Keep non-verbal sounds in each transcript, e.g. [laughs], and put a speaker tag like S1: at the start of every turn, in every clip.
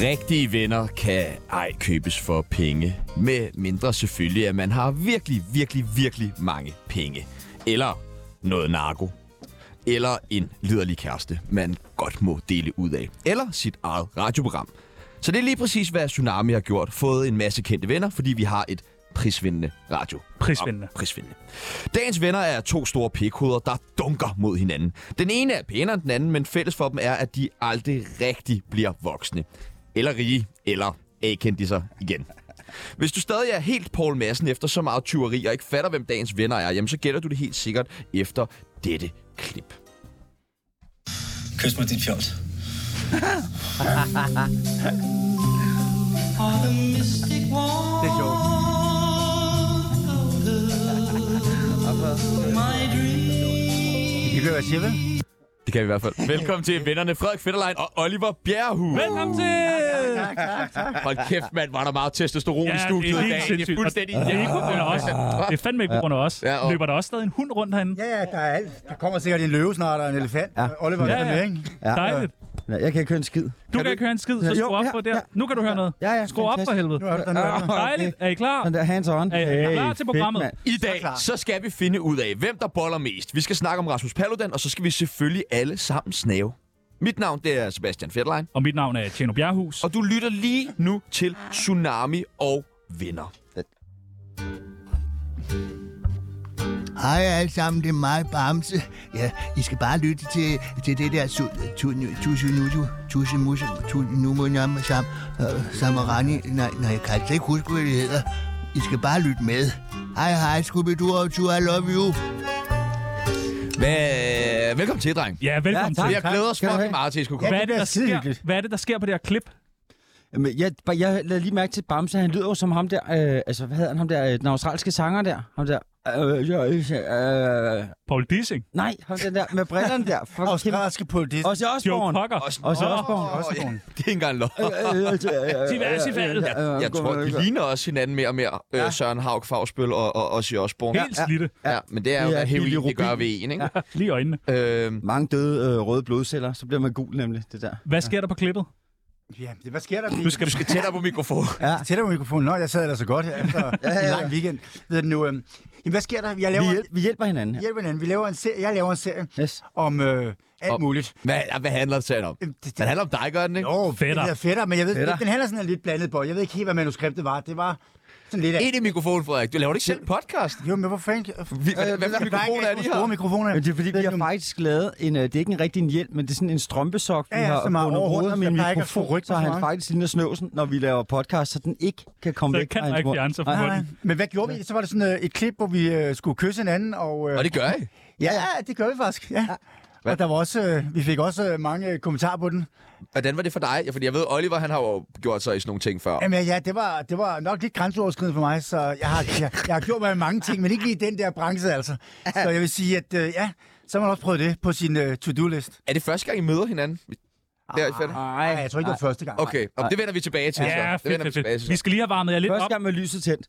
S1: Rigtige venner kan ej købes for penge. Med mindre selvfølgelig, at man har virkelig, virkelig, virkelig mange penge. Eller noget narko. Eller en liderlig kæreste, man godt må dele ud af. Eller sit eget radioprogram. Så det er lige præcis, hvad Tsunami har gjort. Fået en masse kendte venner, fordi vi har et prisvindende radio.
S2: Prisvindende.
S1: prisvindende. Dagens venner er to store pikhoveder, der dunker mod hinanden. Den ene er pænere end den anden, men fælles for dem er, at de aldrig rigtig bliver voksne. Eller rige, eller A-kendiser igen. Hvis du stadig er helt Paul Madsen efter så meget tyveri og ikke fatter, hvem dagens venner er, jamen så gætter du det helt sikkert efter dette klip.
S3: Kys mig dit fjols.
S2: Det er sjovt.
S4: I kan høre, hvad jeg siger, vel?
S1: Det kan vi i hvert
S2: [laughs]
S1: fald. Velkommen til vennerne Frederik Fetterlein og Oliver Bjerrehus.
S2: Velkommen til!
S1: Hold kæft, mand, var der meget testosteron i studiet i dag.
S2: sindssygt. Og det er ikke på grund af os. Det er fandme ikke på grund af os.
S1: Ja, og-
S2: Løber der også stadig en hund rundt herinde?
S4: Ja, ja, der er alt. Der kommer sikkert en løve snart og en elefant. Ja. Oliver, ja,
S2: Ja,
S4: ja.
S2: ja.
S4: med, ikke?
S5: Ja.
S2: Dejligt.
S5: Nej, jeg kan ikke høre en skid.
S2: Du kan, ikke høre en skid, så
S5: Jo,
S2: skru op
S5: ja,
S2: for der.
S5: ja.
S2: Nu kan du høre noget.
S5: Ja, ja,
S2: Skru op for
S5: fantastisk.
S2: helvede.
S4: Nu er der noget.
S2: Dejligt. Er I klar?
S5: Sådan der, hands on.
S2: Er I klar til
S5: fedt,
S2: programmet?
S5: mand.
S1: I dag, så skal vi finde ud af, hvem der boller mest. Vi skal snakke om Rasmus Paludan, og så skal vi selvfølgelig alle sammen snave. Mit navn, det er Sebastian Fetlein,
S2: Og mit navn er Tjeno Bjerghus.
S1: og du lytter lige nu til Tsunami og Venner.
S6: Hej alle sammen, det er mig, Bamse. Ja, I skal bare lytte til, til det der Tusinuju, Tusinuju, Tusinumunam, Sam, øh, Samarani. Nej, nej, jeg kan altså ikke huske, hvad det hedder. I skal bare lytte med. Hej, hej, Scooby-Doo og Tue, I love you.
S1: Hvad- Velkommen til, dreng.
S2: Ja, velkommen
S5: Ja,
S2: til.
S5: tak.
S1: Jeg glæder os
S5: Skal du
S1: fucking
S5: have?
S1: meget til, at I skulle
S2: Hvad
S1: komme.
S2: er, det,
S4: bliver
S2: der sker,
S4: skidehyggeligt.
S2: hvad er det, der sker på det her klip?
S5: Jamen, jeg, bare- jeg lagde lige mærke til Bamse, han lyder jo som ham der, øh, altså hvad hedder han, ham der, øh, den australske sanger der, ham der, øh, jeg, øh,
S2: Paul Dissing.
S5: nej, ham den der med brillerne der, fuck,
S4: Australske politi.
S5: også
S2: Joe
S5: Osborne,
S2: Cocker.
S5: også Osborne, Øh,
S1: Åh, ja, [laughs] Det er ikke engang lov.
S2: Diversifald.
S1: Jeg tror, de ligner også hinanden mere og mere. Øh, Søren Haug, Fagsbøl og, og også Osborn.
S2: Helt slidte.
S1: Ja, men det er jo,
S5: Det er
S1: hvad
S5: Billy
S1: heroin, det gør
S5: Rubin.
S1: ved en, ikke?
S2: Lige i øjnene.
S1: Øhm,
S5: mange døde øh, røde blodceller, så bliver man gul nemlig, det der.
S2: Hvad sker der på klippet?
S4: Ja, det- hvad sker der?
S2: Nu skal du
S1: skal tættere på mikrofonen.
S4: Tættere på mikrofonen. Nå, jeg sad ellers så godt her efter en lang weekend. Ved du nu, øhm, jamen, hvad sker der? Jeg
S5: Vi,
S4: laver,
S5: hjælp, vi hjælper hinanden her.
S4: hjælp hinanden. Vi laver en serie. Jeg laver en serie
S5: Yes.
S4: om øh, alt
S1: Om-
S4: muligt.
S1: Hvad, hvad handler det om?
S4: Øhm, det-
S1: Den handler om dig, gør den, ikke?
S4: Jo,
S2: Fætter.
S4: Det er fætter, men jeg ved,
S5: Fætter.
S4: den handler sådan en lidt blandet på. Jeg ved ikke helt, hvad manuskriptet var. Det var sådan lidt af...
S1: Ind i mikrofonen, Frederik. Du laver ikke selv podcast.
S4: Jo, men hvor fanden... Øh,
S1: hvad- hvad for mikrofoner er de her?
S4: Store mikrofoner.
S5: Men det er fordi, vi har faktisk lavet en, øh, det er ikke en rigtig en hjelm, men det er sådan en strømpesok, vi
S4: Ja, ja,
S5: har
S4: som har
S5: bundet rundt
S4: overhovedet-
S5: om min
S4: der ikke er
S5: mikrofon,
S4: forrygt
S5: så
S4: og
S5: han
S4: sådan noget.
S5: faktisk ligner snøvsen, når vi laver podcast, så den ikke kan komme
S2: Så
S5: væk.
S2: kan der
S5: fra hans
S2: ikke
S5: mund.
S2: fjerne sig
S5: Nej,
S2: fra
S5: nej.
S2: den.
S4: Men hvad gjorde vi? Så var der sådan øh, et klip, hvor vi øh, skulle kysse hinanden. Og, øh,
S1: Og det gør jeg.
S4: Ja, ja, det gør vi faktisk, ja. Og der var også, øh, vi fik også øh, mange øh, kommentarer på den.
S1: Hvordan var det for dig? Ja, Fordi jeg ved, Oliver han har jo gjort sig i sådan nogle ting før.
S4: Jamen ja, det var, det var nok lidt grænseoverskridende for mig, så jeg har, jeg, jeg har gjort mig mange ting, men ikke lige den der branche altså. Så jeg vil sige, at øh, ja, så har man også prøvet det på sin øh, to-do-list.
S1: Er det første gang, I møder hinanden? Der i fælde?
S4: Nej, jeg tror ikke, det var første gang.
S1: Okay, og det vender vi tilbage til.
S2: Ja,
S1: så. Det
S2: fedt,
S1: vender vi
S2: fedt,
S1: tilbage
S2: fedt.
S1: til.
S2: Vi
S1: så.
S2: skal lige have varmet jer lidt
S5: Første
S2: op.
S5: gang med lyset tændt.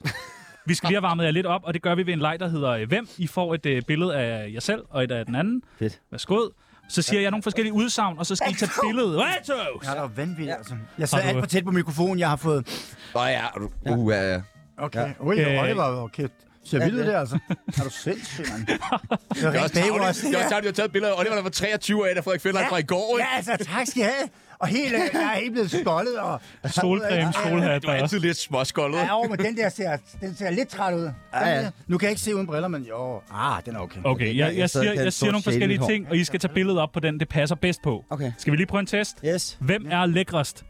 S2: Vi skal lige have varmet jer lidt op, og det gør vi ved en leg, der hedder øh, Hvem. I får et øh, billede af jer selv og et af den anden.
S5: Fedt.
S2: Værsgod. Så siger jeg nogle forskellige udsagn, og så skal I tage billedet. Vatos!
S4: Ja, det var vanvittigt, altså. Jeg sad
S2: Har du-
S4: alt for tæt på mikrofonen, jeg har fået.
S1: Nå ja, er du- uh, ja, ja.
S4: Okay. Ja. Ui,
S2: Øh,
S4: øh, Oliver, okay. Ser vildt det,
S1: [laughs]
S4: altså. Er du sindssyg, mand? Det var
S1: Det er også
S4: rigtig
S1: tavligt.
S4: Baywatch, det
S1: Jeg har
S4: her.
S1: også tavligt, at du har taget billeder af Oliver, der var 23 af, da Frederik Fjelland fra i går.
S4: Ja,
S1: Ikke?
S4: altså, tak skal I have. Og helt, øh, jeg er helt blevet skoldet.
S2: [laughs]
S4: Og...
S2: Solcreme, solhat.
S1: Du er altid lidt småskoldet.
S4: Ja, jo, men den der ser, den ser lidt træt ud. Ja,
S5: ja.
S4: ja. Nu kan jeg ikke se uden briller, men jo. Ah, den er okay.
S2: Okay, jeg, jeg,
S5: Jeg sad
S2: siger,
S5: og havde
S2: jeg
S5: en
S2: siger
S5: sort
S2: nogle
S5: sjæl i
S2: forskellige
S5: mit hår.
S2: ting, og I skal tage billedet op på den, det passer bedst på.
S5: Okay.
S2: Skal vi lige prøve en test?
S5: Yes.
S2: Hvem er lækrest?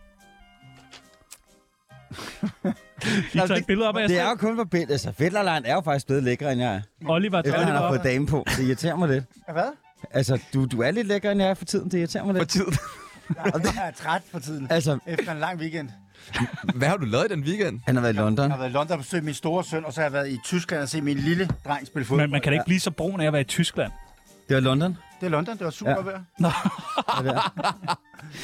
S2: I tager et billede op af jer
S5: Altså, Det
S2: selv.
S5: er jo kun for billeder. Altså, Fetterlein er jo faktisk blevet lækre, end jeg er.
S2: Oliver,
S5: Efter
S2: tager
S5: han har
S2: Oliver.
S5: fået dame på. Det irriterer mig lidt.
S4: Hvad?
S5: Altså, du, du er lidt lækre, end jeg er for tiden. Det irriterer mig
S1: For
S5: lidt.
S1: tiden.
S4: Jeg er træt for tiden.
S5: Altså,
S4: Efter en lang weekend.
S1: Hvad har du lavet i den weekend?
S5: han har været i London.
S4: Jeg har været i London og besøgt min store søn, og så har jeg været i Tyskland og set min lille dreng spille fodbold.
S2: Men man kan da ikke blive så brun af at være i Tyskland.
S5: Det var London.
S4: Det er London, det var super
S5: Ja.
S4: ja. vejr.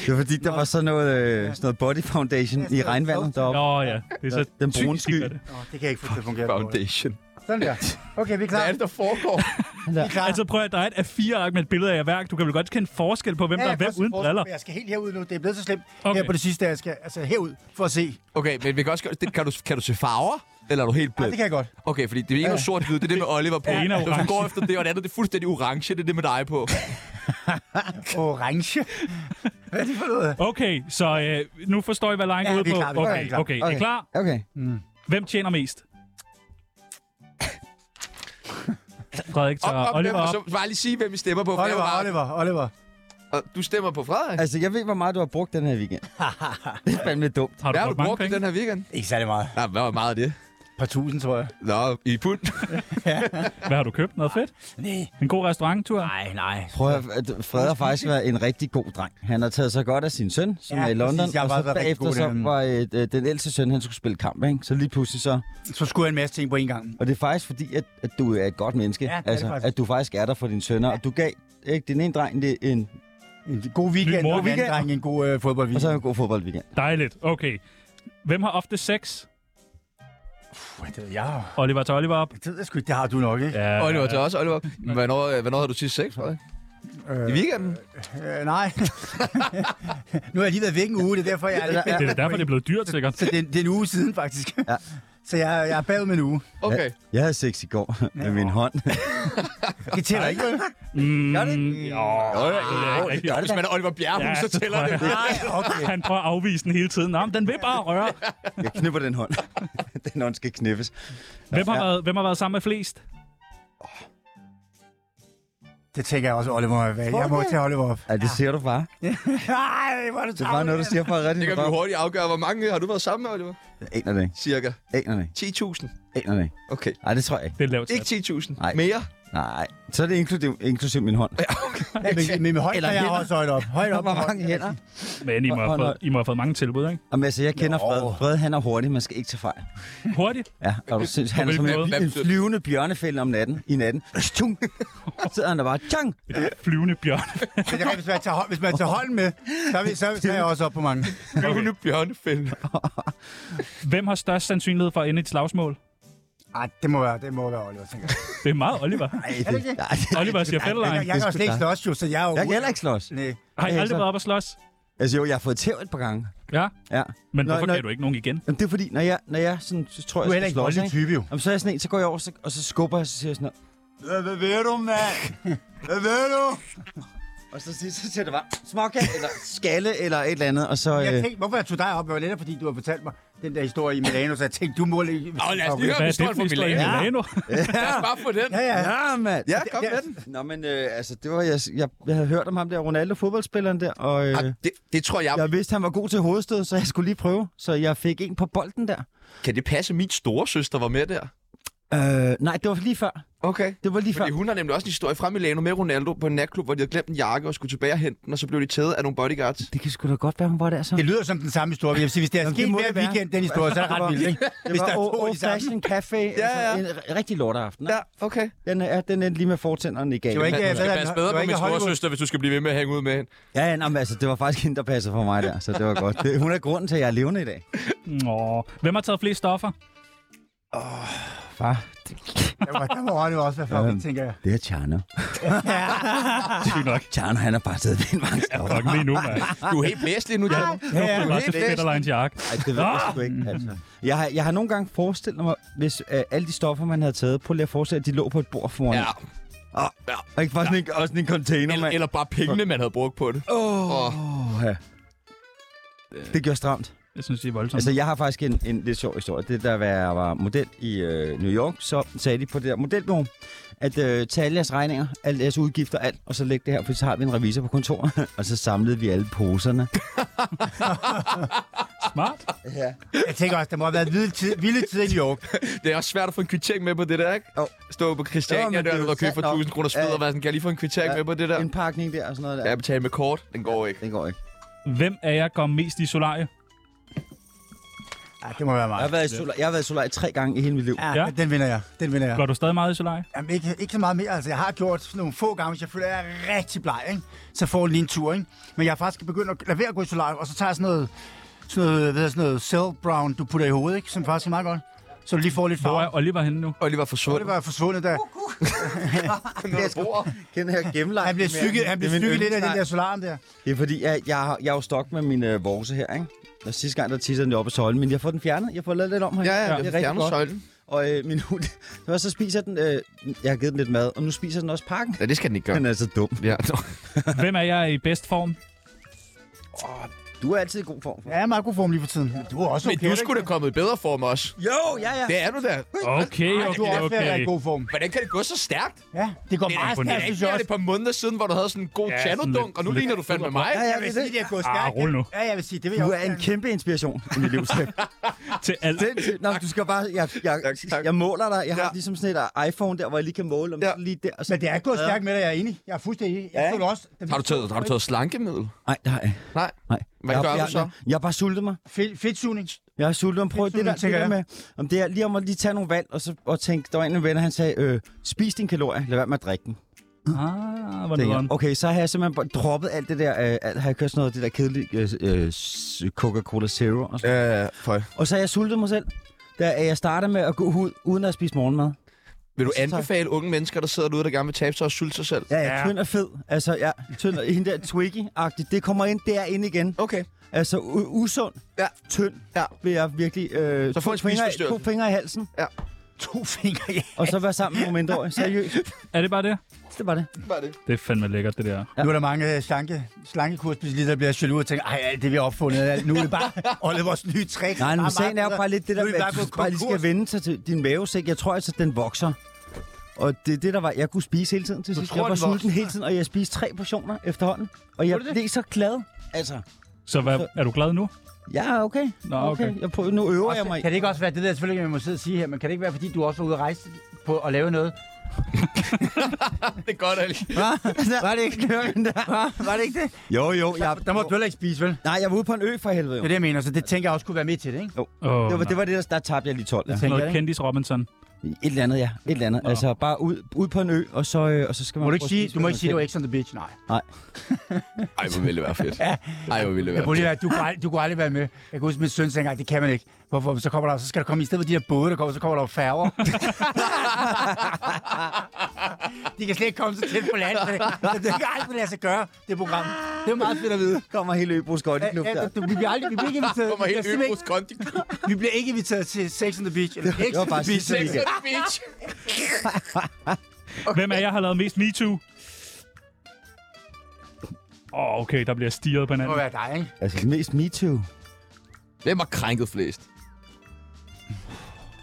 S5: Det var fordi, der var sådan noget, øh, sådan noget body foundation i regnvandet deroppe.
S2: Nå ja, det er så
S5: Den brune
S2: typisk, de
S5: sky.
S2: gør det.
S4: Nå, det kan jeg ikke få til at fungere. på.
S1: Foundation.
S4: Sådan der. Okay, vi er
S1: Hvad
S4: klar.
S1: er det, der foregår?
S4: Vi er klar.
S2: Altså prøv at der er et af fire ark med et billede af jer værk. Du kan vel godt kende forskel på, hvem
S4: Ja,
S2: der er
S4: jeg kan
S2: hvem
S4: også
S2: uden
S4: forestille
S2: briller.
S4: mig, Jeg skal helt herud nu. Det er blevet så slemt okay.
S2: Okay.
S4: her på det sidste, jeg skal altså herud for at se. Nej,
S1: Okay, men vi kan også gøre... det- Kan du, kan du se farver? Eller er du helt blind?
S4: det kan jeg godt.
S1: Okay, fordi det er ikke noget sort hvid, det er
S2: [laughs]
S1: det med Oliver på.
S2: Det ene er
S1: Hvis du går
S2: orange.
S1: efter det, og det andet det er fuldstændig orange, det er det med dig på.
S4: Orange. Hvad er det for noget?
S2: Okay, så øh, nu forstår I, hvad lejen
S4: Ja,
S2: går ud
S4: vi er
S2: på.
S4: klar, vi er klar, vi er
S2: Okay,
S4: klar.
S2: okay. Er I
S5: Okay.
S2: klar?
S5: Okay.
S2: Hvem tjener mest? Frederik tager
S1: Op, op,
S2: Oliver
S1: hvem, og
S2: op.
S1: så bare lige sige, hvem vi stemmer på. for jeg
S4: Oliver,
S1: var-
S4: Oliver, Oliver.
S1: Og du stemmer på Frederik.
S4: [laughs]
S5: Altså, jeg ved, hvor meget du har brugt den her weekend. det er fandme dumt.
S2: Har du,
S1: Hvad har
S2: brugt
S1: du
S2: mange
S1: brugt i
S2: penge?
S1: den her weekend?
S4: Ikke særlig meget.
S1: Nej, hvad var meget af det?
S4: Par tusind, tror jeg.
S1: Nå, i pund.
S2: Hvad har du købt? Noget fedt?
S4: Nej.
S2: En god restauranttur?
S4: Nej, nej.
S5: Prøv at, at Fred har faktisk været en rigtig god dreng. Han har taget sig godt af sin søn, som
S4: Ja,
S5: ja, er i London.
S4: præcis. Jeg har
S5: og
S4: bare
S5: så
S4: været rigtig
S5: bagefter
S4: god
S5: så
S4: derinde.
S5: var øh, øh, den ældste søn, han skulle spille kamp, ikke? Så lige pludselig så...
S4: Så skulle jeg en masse ting på en gang.
S5: Og det er faktisk fordi, at, at du er et godt menneske.
S4: Ja, det er det
S5: altså,
S4: faktisk.
S5: at du faktisk er der for dine sønner. Og du gav ikke, din ene dreng det en,
S4: En god weekend,
S2: mor-
S4: og en anden
S5: weekend.
S4: dreng, en god øh,
S5: og
S4: fodboldweekend.
S5: så en god fodboldweekend.
S2: Dejligt. Okay. Hvem har ofte sex?
S4: Puh, det ved jeg jo.
S2: Oliver tager Oliver op.
S4: Det ved jeg sgu ikke. Det har du nok, ikke?
S2: Ja,
S1: Oliver til også, Oliver. Hvornår, øh, hvornår havde du sidst sex, Frederik? I weekenden?
S4: Øh, nej. [laughs] nu har jeg lige været væk en uge, det er derfor, jeg er lidt
S2: det er da derfor, det er blevet
S1: [laughs]
S2: dyrt, sikkert.
S4: [laughs] Så det, er- det er en uge siden, faktisk.
S5: Ja.
S4: Så jeg, jeg er bagud med en uge.
S1: Okay.
S5: Jeg havde sex i går med min hånd.
S4: Det tæller ikke, vel?
S2: Mm, gør det? Jo, det ikke
S1: Hvis man er Oliver Bjerrehus,
S2: Ja,
S1: så
S2: det
S1: tæller
S2: tror
S1: det.
S2: jeg.
S4: Nej, okay.
S2: Han prøver at afvise den hele tiden. Nå, men den vil bare røre.
S5: Jeg knipper den hånd. [laughs] den hånd skal knippes.
S2: Hvem har, været, hvem har været sammen med flest?
S4: Det tænker jeg også, Oliver. er væk. Jeg må tage Oliver op.
S5: Ja, det ser du bare.
S4: Nej, hvor er du
S5: Det er bare noget, du siger for at redde
S1: Det
S5: din
S1: kan vi
S5: røv.
S1: hurtigt afgøre. Hvor mange øh, har du været sammen med, Oliver?
S5: Jeg aner det ikke.
S1: Cirka
S5: Aner det ikke.
S1: 10.000.
S5: Aner det ikke.
S1: Okay.
S5: Nej, det tror jeg ikke.
S2: Det er lavt
S1: Ikke
S2: sat.
S1: 10.000.
S5: Nej.
S1: Mere?
S5: Nej, så er det inklusiv, inklusiv min hånd.
S4: siger. Men, men med højt,
S5: Eller
S4: Eller jeg
S5: hænder.
S4: også højt op. Højt op.
S5: Hvor
S4: højt.
S5: mange hænder?
S2: Men I må, have
S5: Hvor-
S2: fået, I må have fået mange tilbud, ikke?
S5: Jamen, altså, jeg kender
S4: Nå.
S5: Fred. Fred, han er hurtig. Man skal ikke tage fejl.
S2: Hurtigt.
S5: Ja, og du synes, han er som
S1: Hvad-
S5: en,
S1: hvad
S5: en
S1: betyder-
S5: flyvende bjørnefælde om natten. I natten. Tjung! Så sidder han der bare. Tjang!
S2: Et flyvende bjørn.
S4: Men jeg kan, hvis man tager, hold- hvis man tager hånden med, så er, vi, så, så er jeg også op på mange.
S1: Flyvende bjørnefælde.
S2: Hvem har størst sandsynlighed for at ende i et slagsmål?
S4: Ej, det må være, det må være Oliver, tænker jeg.
S2: Det er meget Oliver.
S4: Er det ikke det?
S5: Nej, det-
S2: Oliver siger
S4: Jeg,
S2: fællelejen.
S4: jeg kan jo slet ikke slås, jo, så jeg er jo...
S5: Jeg kan heller ikke slås.
S4: Nej.
S2: Har I
S5: Ja,
S2: aldrig
S5: så-
S2: været op at slås?
S5: Altså jo, jeg har fået tæv et par gange.
S2: Ja.
S5: Ja.
S2: Men
S5: Nå,
S2: hvorfor
S5: nå.
S2: gav du ikke nogen igen?
S5: Jamen, det er fordi, når jeg, når jeg sådan, så tror,
S4: Du er
S5: jeg
S4: heller
S5: skal
S4: ikke en
S5: slås,
S4: voldelig
S5: ikke?
S4: type, jo.
S5: Jamen, så er jeg sådan en, så går jeg over, så, og så skubber jeg, og så siger jeg sådan noget. "Hvad- Hvad ved du, mand? Hvad ved du? Og så siger, så siger det bare, småkat, eller skalle, eller et eller andet, og så...
S4: Jeg
S5: Øh,
S4: tænkte, hvorfor jeg tog dig op, det var netop fordi, du har fortalt mig den der historie i Milano, så jeg tænkte, du må lige...
S1: Åh, lad os lige høre
S2: Hvad er det
S1: historien
S2: for
S1: fra
S2: en historie i
S1: Milano.
S2: Milano?
S1: Lad os bare få den.
S4: Ja, ja.
S5: ja, mand.
S1: Ja, kom med den.
S5: Nå, men øh, altså, det var, jeg, jeg, jeg havde hørt om ham der, Ronaldo, fodboldspilleren der, og øh,
S1: Ah, Det, det tror jeg.
S5: jeg vidste, han var god til hovedstød, så jeg skulle lige prøve. Så jeg fik en på bolden der.
S1: Kan det passe, at min storesøster var med der?
S5: Øh, nej, det var lige før.
S1: Okay.
S5: Det var lige før.
S1: Fordi hun har nemlig også en historie fra Milano med Ronaldo på en natklub, hvor de havde glemt en jakke og skulle tilbage og hente den, og så blev de taget af nogle bodyguards.
S5: Det kan sgu da godt være, hun var der så.
S4: Det lyder som den samme historie. Jeg vil sige, hvis det er
S5: Jamen, det
S4: sket
S5: må
S4: hver
S5: det være.
S4: weekend, den historie, så er det ret vildt, ikke?
S5: [laughs] Det
S4: Hvis
S5: var
S4: der er
S5: old-
S4: to i
S5: old
S4: samme.
S5: fashion café.
S1: Ja, ja.
S5: Altså, en r- rigtig lorteaften. Ja.
S1: Ja, okay.
S5: Den, er, den endte lige med fortænderne i
S4: Det var
S5: galt.
S4: ikke,
S1: Du skal
S4: hvad er
S1: passe
S4: den-
S1: bedre
S4: det var
S1: på
S4: ikke
S1: min
S4: Hollywood.
S1: storesøster, hvis du skal blive ved med at hænge ud med hende.
S5: Ja, ja, nå, men altså, det var faktisk hende, der passer for mig der, så det var godt. Det, hun er grunden til, at jeg er levende i dag.
S2: Nå. Hvem har taget flest stoffer?
S5: Far,
S4: Der var, der var Oliver også, hvad fuck,
S5: Øhm.
S4: tænker jeg.
S5: det er Tjerno.
S1: [laughs]
S2: Sygt nok.
S5: Tjerno, han er bare siddet ved en vangst.
S2: Jeg er fucking lige nu,
S5: [laughs]
S2: mand.
S1: Du er helt blæslig nu, Tjerno.
S2: Nu
S1: ja,
S2: er det bare
S1: helt
S2: til fætterlejens jakke.
S5: Ej, det ved jeg sgu ikke, altså. Jeg har, jeg har nogle gange forestillet mig, hvis øh, alle de stoffer, man havde taget, prøv lige at forestille, at de lå på et bord foran.
S1: Ja.
S5: Ja. Og ikke bare sådan en, også sådan en container,
S1: Eller,
S5: mand.
S1: eller bare pengene, man havde brugt på det.
S5: Åh,
S1: Åh. Øh. Mhm.
S5: oh, ja. Det gjorde stramt.
S2: Jeg synes, det er voldsomt.
S5: Altså, jeg har faktisk en, en lidt sjov historie. Det der, da jeg var model i øh, New York, så sagde de på det der modelbureau, at øh, tage alle jeres regninger, alle jeres udgifter, alt, og så lægge det her, for så har vi en revisor på kontoret. [laughs] og så samlede vi alle poserne.
S2: Smart.
S4: Jeg tænker også, der må have været vilde, tid, vilde tider i New York.
S1: Det er også svært at få en kvittering med på det der, ikke?
S5: Jo.
S1: Stå på
S5: Jo, men
S1: Christiania
S5: det er
S1: der,
S5: jo
S1: og købe for
S5: sandt nok.
S1: 1000 kroner spid,
S5: Ja.
S1: og være sådan, kan jeg lige få en kvittering
S5: Ja.
S1: med på det der?
S5: En pakning der og sådan noget der.
S1: Ja, betale med kort. Den går ikke.
S5: Det går ikke.
S2: Hvem af jer går mest i solarie?
S4: Ej, det må være
S5: Jeg
S4: mig.
S5: har været i solar, jeg har været i solar tre gange i hele mit liv. Ja.
S4: Ja,
S2: Ja.
S4: men den vinder jeg. Den vinder jeg.
S2: Går du stadig meget i solarie?
S4: Jamen, ikke, ikke så meget mere. Altså, jeg har gjort sådan nogle få gange, hvis jeg føler, at jeg er rigtig bleg, ikke? så får jeg lige en tur. Ikke? Men jeg har faktisk begyndt at lade være at gå i solarium, og så tager jeg sådan noget, sådan noget, hvad hedder sådan noget cell brown, du putter i hovedet, ikke? som faktisk er meget godt. så du lige får lidt
S2: Hvor
S4: farve.
S2: er Oliver henne nu?
S1: Oliver forsvundet.
S4: Det var forsvundet, da
S5: Jeg skal den her gennemlagt.
S4: han blev stykket, han blev
S1: øh,
S4: stykket lidt af den der solarium der.
S5: Det er fordi, jeg, jeg, har- jeg er jo stok med min øh, vorse her, ikke? Og sidste gang, der tissede den jo op i søjlen, men jeg har fået den fjernet. Jeg har fået lavet lidt om her.
S7: Ja, ja,
S5: det er
S7: ja.
S5: rigtig
S7: Fjerner
S5: godt.
S7: søjlen.
S5: Og øh, min hund, [laughs] så, så spiser den, øh, jeg har givet den lidt mad, og nu spiser den også pakken.
S7: Ja, det skal den ikke gøre.
S5: Den er så dum.
S7: Ja, nå.
S2: Hvem er jeg i bedst form?
S5: Du er altid i god form.
S4: Ja, jeg er i meget god form lige for tiden. Du er også
S1: Men
S4: okay.
S1: du skulle da kommet i bedre form også.
S5: Jo, ja, ja.
S7: Det er du der.
S2: Okay,
S4: Du er
S2: okay,
S4: også ved at være i
S2: okay.
S4: god form.
S1: Hvordan kan det gå så stærkt?
S4: Ja, det går
S1: Det er
S4: meget
S1: da
S4: stærkt,
S1: ikke
S4: synes
S1: mere
S4: jeg
S1: end
S4: også.
S1: et par måneder siden, hvor du havde sådan en god
S2: Ja,
S1: ja,
S2: sådan
S1: tanodunk,
S2: lidt-
S1: og nu
S2: lidt
S1: ligner du fandme mig.
S5: Ja, ja,
S4: Jeg vil
S5: det er
S4: sige,
S5: det.
S4: det er
S2: Ah,
S4: gået stærkt.
S2: rul nu.
S4: Ja, jeg vil sige, det vil jeg
S5: Du
S4: også
S5: er en
S4: gerne.
S5: kæmpe inspiration i mit liv.
S4: [laughs]
S2: Til alt.
S5: Sindssygt. Nå, du skal bare... Jeg, jeg,
S7: Tak, tak.
S5: jeg måler dig. Jeg har
S7: Ja.
S5: ligesom sådan et iPhone der, hvor jeg lige kan måle, om
S7: Ja.
S5: ja. lige der. Og så...
S4: Men det er gået stærkt med dig, jeg er enig. Jeg er fuldstændig enig. Jeg
S5: Ja.
S4: føler også...
S1: Har du taget, har du taget slankemiddel?
S5: Nej, det har jeg.
S7: Nej.
S5: Nej.
S7: Hvad
S5: jeg,
S7: gør
S5: jeg,
S7: du så?
S5: Jeg, jeg har bare sultet mig.
S4: Fedt, fedtsugning.
S5: Jeg har sultet mig. Prøv
S4: Fedt,
S5: det der, det
S4: tænker
S5: der
S4: jeg.
S5: med, om det er lige om at lige tage nogle valg, og, så, og tænke, der var en af mine venner, han sagde, øh, spis din kalorie, lad være med at drikke den.
S2: Ah, hvor
S5: Tænker
S2: nederen.
S5: jeg, Okay, så har jeg simpelthen bare droppet alt det der, øh, alt, har jeg kørt sådan noget, det der kedelige øh, øh, s- Coca-Cola Zero. Og, sådan.
S7: Øh, føj.
S5: og så har jeg sultet mig selv, da øh, jeg startede med at gå ud, uden at spise morgenmad.
S1: Vil du anbefale unge mennesker, der sidder derude, der gerne vil tabe sig og sulte sig selv?
S5: Ja, ja,
S2: Ja.
S5: tynd og fed. Altså, ja, tynd og hende der Twiggy-agtigt. Det kommer ind derinde igen.
S1: Okay.
S5: Altså, u- usund,
S7: Ja.
S5: tynd,
S7: Ja.
S5: vil jeg virkelig... Øh,
S1: Så få
S5: to
S1: en
S5: fingre, i-
S1: spiseforstyrrelse.
S5: To fingre i halsen,
S4: To [laughs] fingre, ja.
S5: og så være sammen med nogle mindreårige.
S4: [laughs]
S5: Seriøst,
S2: Er det bare det?
S5: det var det.
S2: Det er fandme lækkert, det der.
S4: Nu er der mange øh, slanke, slankekursspecialister, der bliver jaloux og tænker, ej, alt det vi har opfundet, alt, nu er det [laughs] bare Olivers nye trick.
S5: Nej, men
S4: Bare
S5: sagen er jo
S4: meget-
S5: bare lidt det der
S4: Nu er
S5: med,
S4: vi bare
S5: at du
S4: gået
S5: bare lige skal
S4: konkurs.
S5: vende sig til din mavesæk. Jeg tror altså, den vokser. Og det er det, der var. Jeg kunne spise hele tiden til sidst.
S1: tror,
S5: Jeg var
S1: den vokser?
S5: sulten hele tiden, og jeg spiste tre portioner efterhånden. Og jeg blev så glad. Altså,
S2: Så hvad, er du glad nu?
S5: ja, okay.
S2: Nå, okay.
S5: Jeg prøver, nu øver jeg mig.
S4: Kan det ikke også være, det der selvfølgelig, man må sidde og sige her, men kan det ikke være, fordi du også var ude at rejse på at lave noget?
S1: Det er godt, Ali.
S4: Var det ikke det? [laughs] Var det ikke det?
S5: Jo, jo. Jeg,
S4: Der må du heller ikke spise, vel?
S5: nej, jeg var ude på en ø for helvede. Jo.
S4: Det er det, jeg mener, så det tænker jeg også kunne være med til det, ikke?
S2: Oh,
S5: Det var, det var det, der, der tabte jeg lige 12. Ja.
S4: tænker jeg,
S2: Noget
S4: ikke?
S2: Candice Robinson.
S5: Et eller andet, ja. Et eller andet.
S2: Nå.
S5: Altså, bare ud, ud på en ø, og så, øh, og så skal man...
S4: Må du
S5: prøve
S4: ikke
S5: at
S4: sige,
S5: spise,
S4: du må ikke
S5: hvad man
S4: sige, det
S5: kan.
S4: var ikke sådan the bitch, nej.
S1: Ej, hvor ville det være fedt. Ej, hvor ville det
S4: Jeg
S1: være
S4: kunne lige, være, du, kunne aldrig, du kunne aldrig være med. Jeg kan huske, min søn sagde engang, det kan man ikke. Hvorfor? Så kommer der, så skal der komme, i stedet for de der både, der kommer, så kommer der jo færger. [laughs] de kan slet ikke komme så tæt på land. Så det, så det kan aldrig lade sig gøre, det program. Det er meget fedt at vide.
S5: Kommer hele øbrugs godt i knop
S4: Ja,
S5: der.
S4: du, vi bliver aldrig, vi bliver ikke
S1: fedt.
S4: inviteret.
S1: Kommer
S4: Vi
S1: helt
S4: bliver,
S1: øvrigt
S4: simpelthen
S1: konti.
S4: ikke, vi bliver ikke inviteret til Sex on the Beach. Eller Sex
S5: Det
S4: on
S5: var bare
S4: the Beach.
S5: sidste weekend.
S1: Beach.
S2: Hvem af jer har lavet mest MeToo? Åh, oh, okay, der bliver stirret på
S4: Det må
S2: hinanden.
S4: være dig, ikke?
S5: Altså, det mest me too.
S1: Hvem har krænket flest?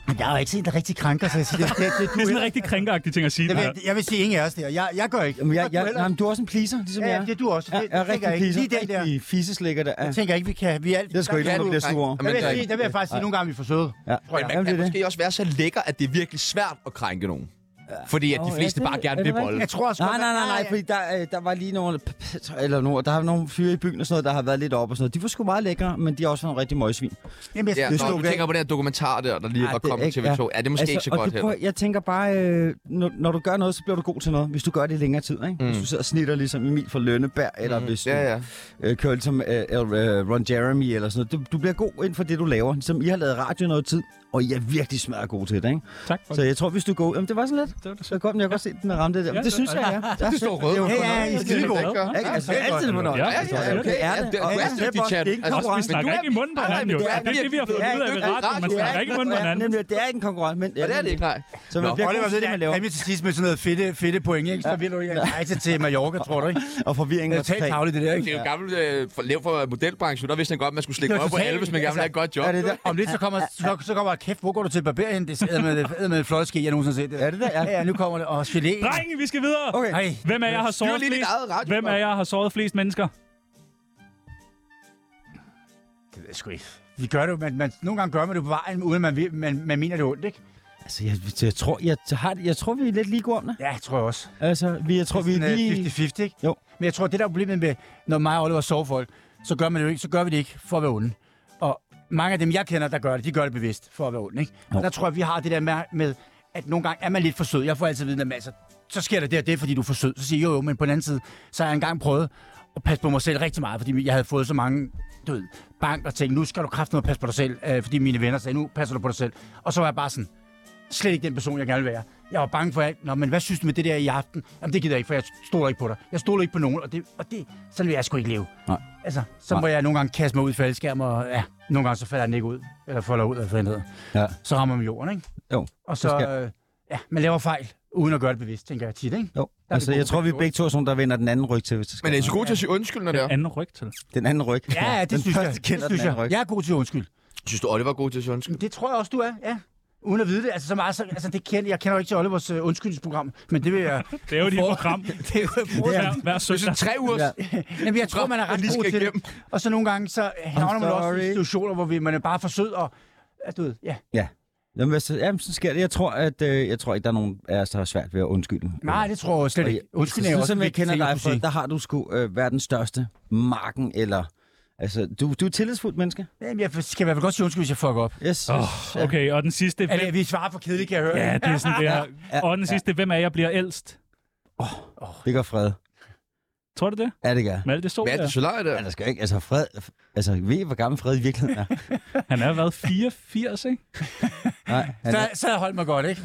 S4: Men jeg har jo ikke set en rigtig krænker, så jeg siger, det, det, det,
S2: Det er sådan en rigtig krænkeragtig ting at sige.
S4: [laughs] jeg,
S2: Det her.
S4: vil, jeg vil sige ingen af os der. Jeg, jeg gør ikke.
S5: Jamen, jeg, jeg,
S4: Du heller
S5: nej,
S4: ikke.
S5: men du er også en pleaser, ligesom
S4: ja,
S5: jeg
S4: ja, det er du også.
S5: Jeg
S4: Det,
S5: er
S4: det tænker
S5: rigtig
S4: jeg ikke.
S5: pleaser.
S4: Lige den der.
S5: Rigtig fisseslikker, der er.
S4: Jeg tænker ikke, vi kan... Vi er alt,
S5: Det er sgu ikke
S1: Der
S5: nogen,
S1: kan
S5: der
S1: du
S5: bliver
S1: krænke.
S5: sure over.
S1: Jamen,
S4: der vil
S1: der er
S4: jeg, sige,
S1: ikke-
S4: der vil jeg faktisk sige, at nogle gange er vi for søde.
S5: Ja.
S4: tror jeg.
S1: Men man kan
S5: Jamen, det er det.
S1: måske også være så lækker, at det er virkelig svært at krænke nogen. Fordi at de
S5: Åh, ja,
S1: fleste
S5: det-
S1: bare gerne
S5: er det
S1: vil
S5: rigtigt?
S1: bolle.
S4: Jeg tror også
S5: Nej,
S4: godt,
S5: nej, nej, nej,
S4: at-
S5: fordi der, øh, der var lige nogle, p- p- eller nogle, der har nogle fyre i byen og sådan noget, der har været lidt op og sådan noget. De var sgu meget lækre, men de har også været nogle rigtig møgsvin.
S4: Jamen, jeg,
S1: Ja,
S5: det
S1: når
S5: stod
S1: du
S5: væk.
S1: tænker på den her dokumentar der, der lige
S5: Ej,
S1: var
S5: det er
S1: kommet til
S5: ikke-
S1: TV2. Ja, det er måske ikke så
S5: Altså, og
S1: godt
S5: det
S1: heller.
S5: prøver, jeg tænker bare, øh, når, når, du gør noget, så bliver du god til noget, hvis du gør det i længere tid. Ikke? Mm. Hvis du sidder og snitter ligesom Emil fra Lønneberg, eller hvis du
S1: Mm. Ja, ja.
S5: øh, kører ligesom øh, øh, Ron Jeremy eller sådan noget. Du, du bliver god inden for det, du laver. Ligesom I har lavet radio i noget tid, og I er virkelig smadret gode til det. Ikke?
S2: Tak for
S5: Så
S2: det.
S5: jeg tror, hvis du går... Jamen, det var sådan lidt.
S2: Det var da
S5: Så godt, men jeg kan godt se, at den er ramt det der.
S2: Ja,
S5: Ja, det synes
S2: det-
S5: jeg, ja.
S1: Det står rød.
S4: ja, ja, I er skide gode.
S5: Ikke? Altså, det er
S4: Ja,
S5: altid
S2: ja,
S5: fornøjet.
S2: ja,
S5: Altså,
S2: ja,
S5: det er det.
S1: Du
S5: Og
S1: er
S5: det
S1: dygtig,
S5: er
S1: chat.
S5: det er
S1: Altså,
S2: Også, vi
S5: ikke en konkurrence.
S2: snakker ikke i munden på
S5: Nej, nej,
S2: hinanden,
S5: men
S2: jo.
S5: du
S2: Det
S5: er-
S2: er det, vi har fået
S5: Ja,
S2: ud af ved
S5: du er-
S2: radioen. Man
S5: du er-
S2: snakker ikke i munden på
S5: Ja,
S2: hinanden.
S5: Nemlig, det er ikke en konkurrence, men...
S1: Ja, det er det ikke, nej.
S5: Så man
S1: Nå.
S5: bliver
S4: Oliver
S5: god
S4: ved
S5: til det, man laver.
S4: det, til sidst med sådan noget fedt, fedt point, ikke? Så vil du ikke rejse til Mallorca, tror du, ikke?
S5: Og forvirringen
S4: Det
S5: er
S4: er totalt
S5: total.
S4: tavligt, det der,
S1: Det
S4: ikke?
S1: er jo gammelt øh, for, lev for modelbranchen. Der vidste han godt, at man skulle slikke
S4: Det er
S1: op på
S4: totalt-
S1: alle, hvis man gerne ville have et godt job.
S5: Er det der?
S4: Om lidt, så kommer, så, så kommer kæft, hvor går du til barberien? Det sidder med, det med et flot ske, jeg nogensinde har set det.
S5: Er det der? Ja.
S4: Ja, ja, nu kommer det. Og gelé.
S2: Drenge, vi skal videre.
S5: Okay.
S4: Ej,
S2: Hvem af jer har
S1: Det er jo
S2: såret
S1: lige dit
S2: flest?
S1: eget radio.
S2: Hvem af jer har såret flest mennesker?
S4: det ved jeg sgu ikke. Vi gør det jo, man, man, nogle gange gør man det på vejen, uden man, vil- man, man mener det er ondt, ikke?
S5: Altså, jeg, jeg, tror, jeg, har, jeg tror, vi er lidt lige gode om det.
S4: Ja, jeg tror jeg også.
S5: Altså, vi, jeg tror, vi er
S4: Sådan, øh,
S5: lige...
S4: 50-50, ikke?
S5: Jo.
S4: Men jeg tror, det der er problemet med, når mig og Oliver sover folk, så gør, man det jo ikke, så gør vi det ikke for at være onde. Og mange af dem, jeg kender, der gør det, de gør det bevidst for at være onde. Ikke? Og der tror jeg, vi har det der med, med, at nogle gange er man lidt for sød. Jeg får altid at vide, at altså, så sker der det og det, fordi du er for sød. Så siger jeg, jo, jo, men på den anden side, så har jeg engang prøvet at passe på mig selv rigtig meget, fordi jeg havde fået så mange du ved, bank og tænkte, nu skal du kraftigt passe på dig selv, øh, fordi mine venner sagde, nu passer du på dig selv. Og så var jeg bare sådan, slet ikke den person, jeg gerne vil være. Jeg var bange for, at, Nå, men hvad synes du med det der i aften? Jamen, det gider jeg ikke, for jeg stoler ikke på dig. Jeg stoler ikke på nogen, og det, og det sådan vil jeg sgu ikke leve.
S5: Nej.
S4: Altså, så
S5: Nej.
S4: må jeg nogle gange kaste mig ud i faldskærm, og ja, nogle gange så falder den ikke ud, eller folder ud, eller hvad det hedder.
S5: Ja.
S4: Så rammer man jorden, ikke?
S5: Jo,
S4: Og så,
S5: skal-
S4: øh, ja, man laver fejl, uden at gøre det bevidst, tænker jeg tit,
S5: [laughs]
S4: ikke?
S5: Jo.
S4: vi
S5: Altså,
S4: gode
S5: jeg tror, vi er begge to er sådan, der vender den anden ryg til, hvis det skal.
S1: Men er I så god til at sige undskyld, når det er?
S2: Anden ryg til.
S5: Den anden ryg.
S4: Ja, ja,
S5: Den
S4: det synes
S5: første
S4: jeg. Det
S5: kender den
S4: synes
S5: anden
S4: jeg.
S5: ryg.
S4: Jeg er god til undskyld.
S1: Synes du, Oliver er god til at sige undskyld?
S4: Men Det tror jeg også, du er, ja. Uden at vide det. Altså, så meget, så, altså det kender, jeg kender jo ikke til Olivers uh, undskyldningsprogram, men det vil jeg...
S2: Det er jo dit
S4: For-
S2: program.
S4: [laughs] det er jo
S2: Hver, hver
S1: Det er
S2: søndag.
S1: sådan tre uger.
S5: Ja.
S4: [laughs] Jamen, jeg tror, man er
S1: Jeg
S4: ret
S1: lige
S4: god
S1: skal
S4: til
S1: igennem.
S4: det. Og så nogle gange, så havner man også
S5: sorry.
S4: i situationer, hvor vi, man er bare for sød og... Ja, du ved, ja.
S5: Jamen, hvis, jamen, så sker det. Jeg tror, at, øh, jeg tror ikke, der er nogen af os, der har svært ved at undskylde.
S4: Nej, det tror jeg slet
S5: Og
S4: ikke. Undskyld,
S5: jeg,
S4: er
S5: så,
S4: jo
S5: sådan
S4: også
S5: som
S4: en
S5: jeg
S4: vigtig
S5: kender
S4: ting at
S5: dig,
S4: kunne
S5: for,
S4: sige.
S5: der har du sgu øh, verdens største marken, eller... Altså, du, du er et tillidsfuldt menneske.
S4: Jamen, jeg skal i hvert fald godt sige undskyld, hvis jeg fucker op.
S5: Yes.
S2: Oh, okay, og den sidste.
S4: Er det,
S2: Hvem,
S4: at vi svarer for kedeligt, kan jeg høre?
S2: ja, det er sådan, det her.
S5: ja,
S2: Og den sidste, hvem af jer bliver ældst?
S5: Det gør fred.
S2: Tror du det?
S5: Ja, det gør.
S2: Malte Sol,
S1: Hvad er
S2: ja.
S1: det så lejer der?
S5: Ja, der skal jo ikke. Altså, fred... Altså, ved I, hvor gammel fred i virkeligheden er?
S2: han er været 84, ikke?
S5: Nej, han,
S4: Så,
S5: er-
S4: så holdt mig godt, ikke?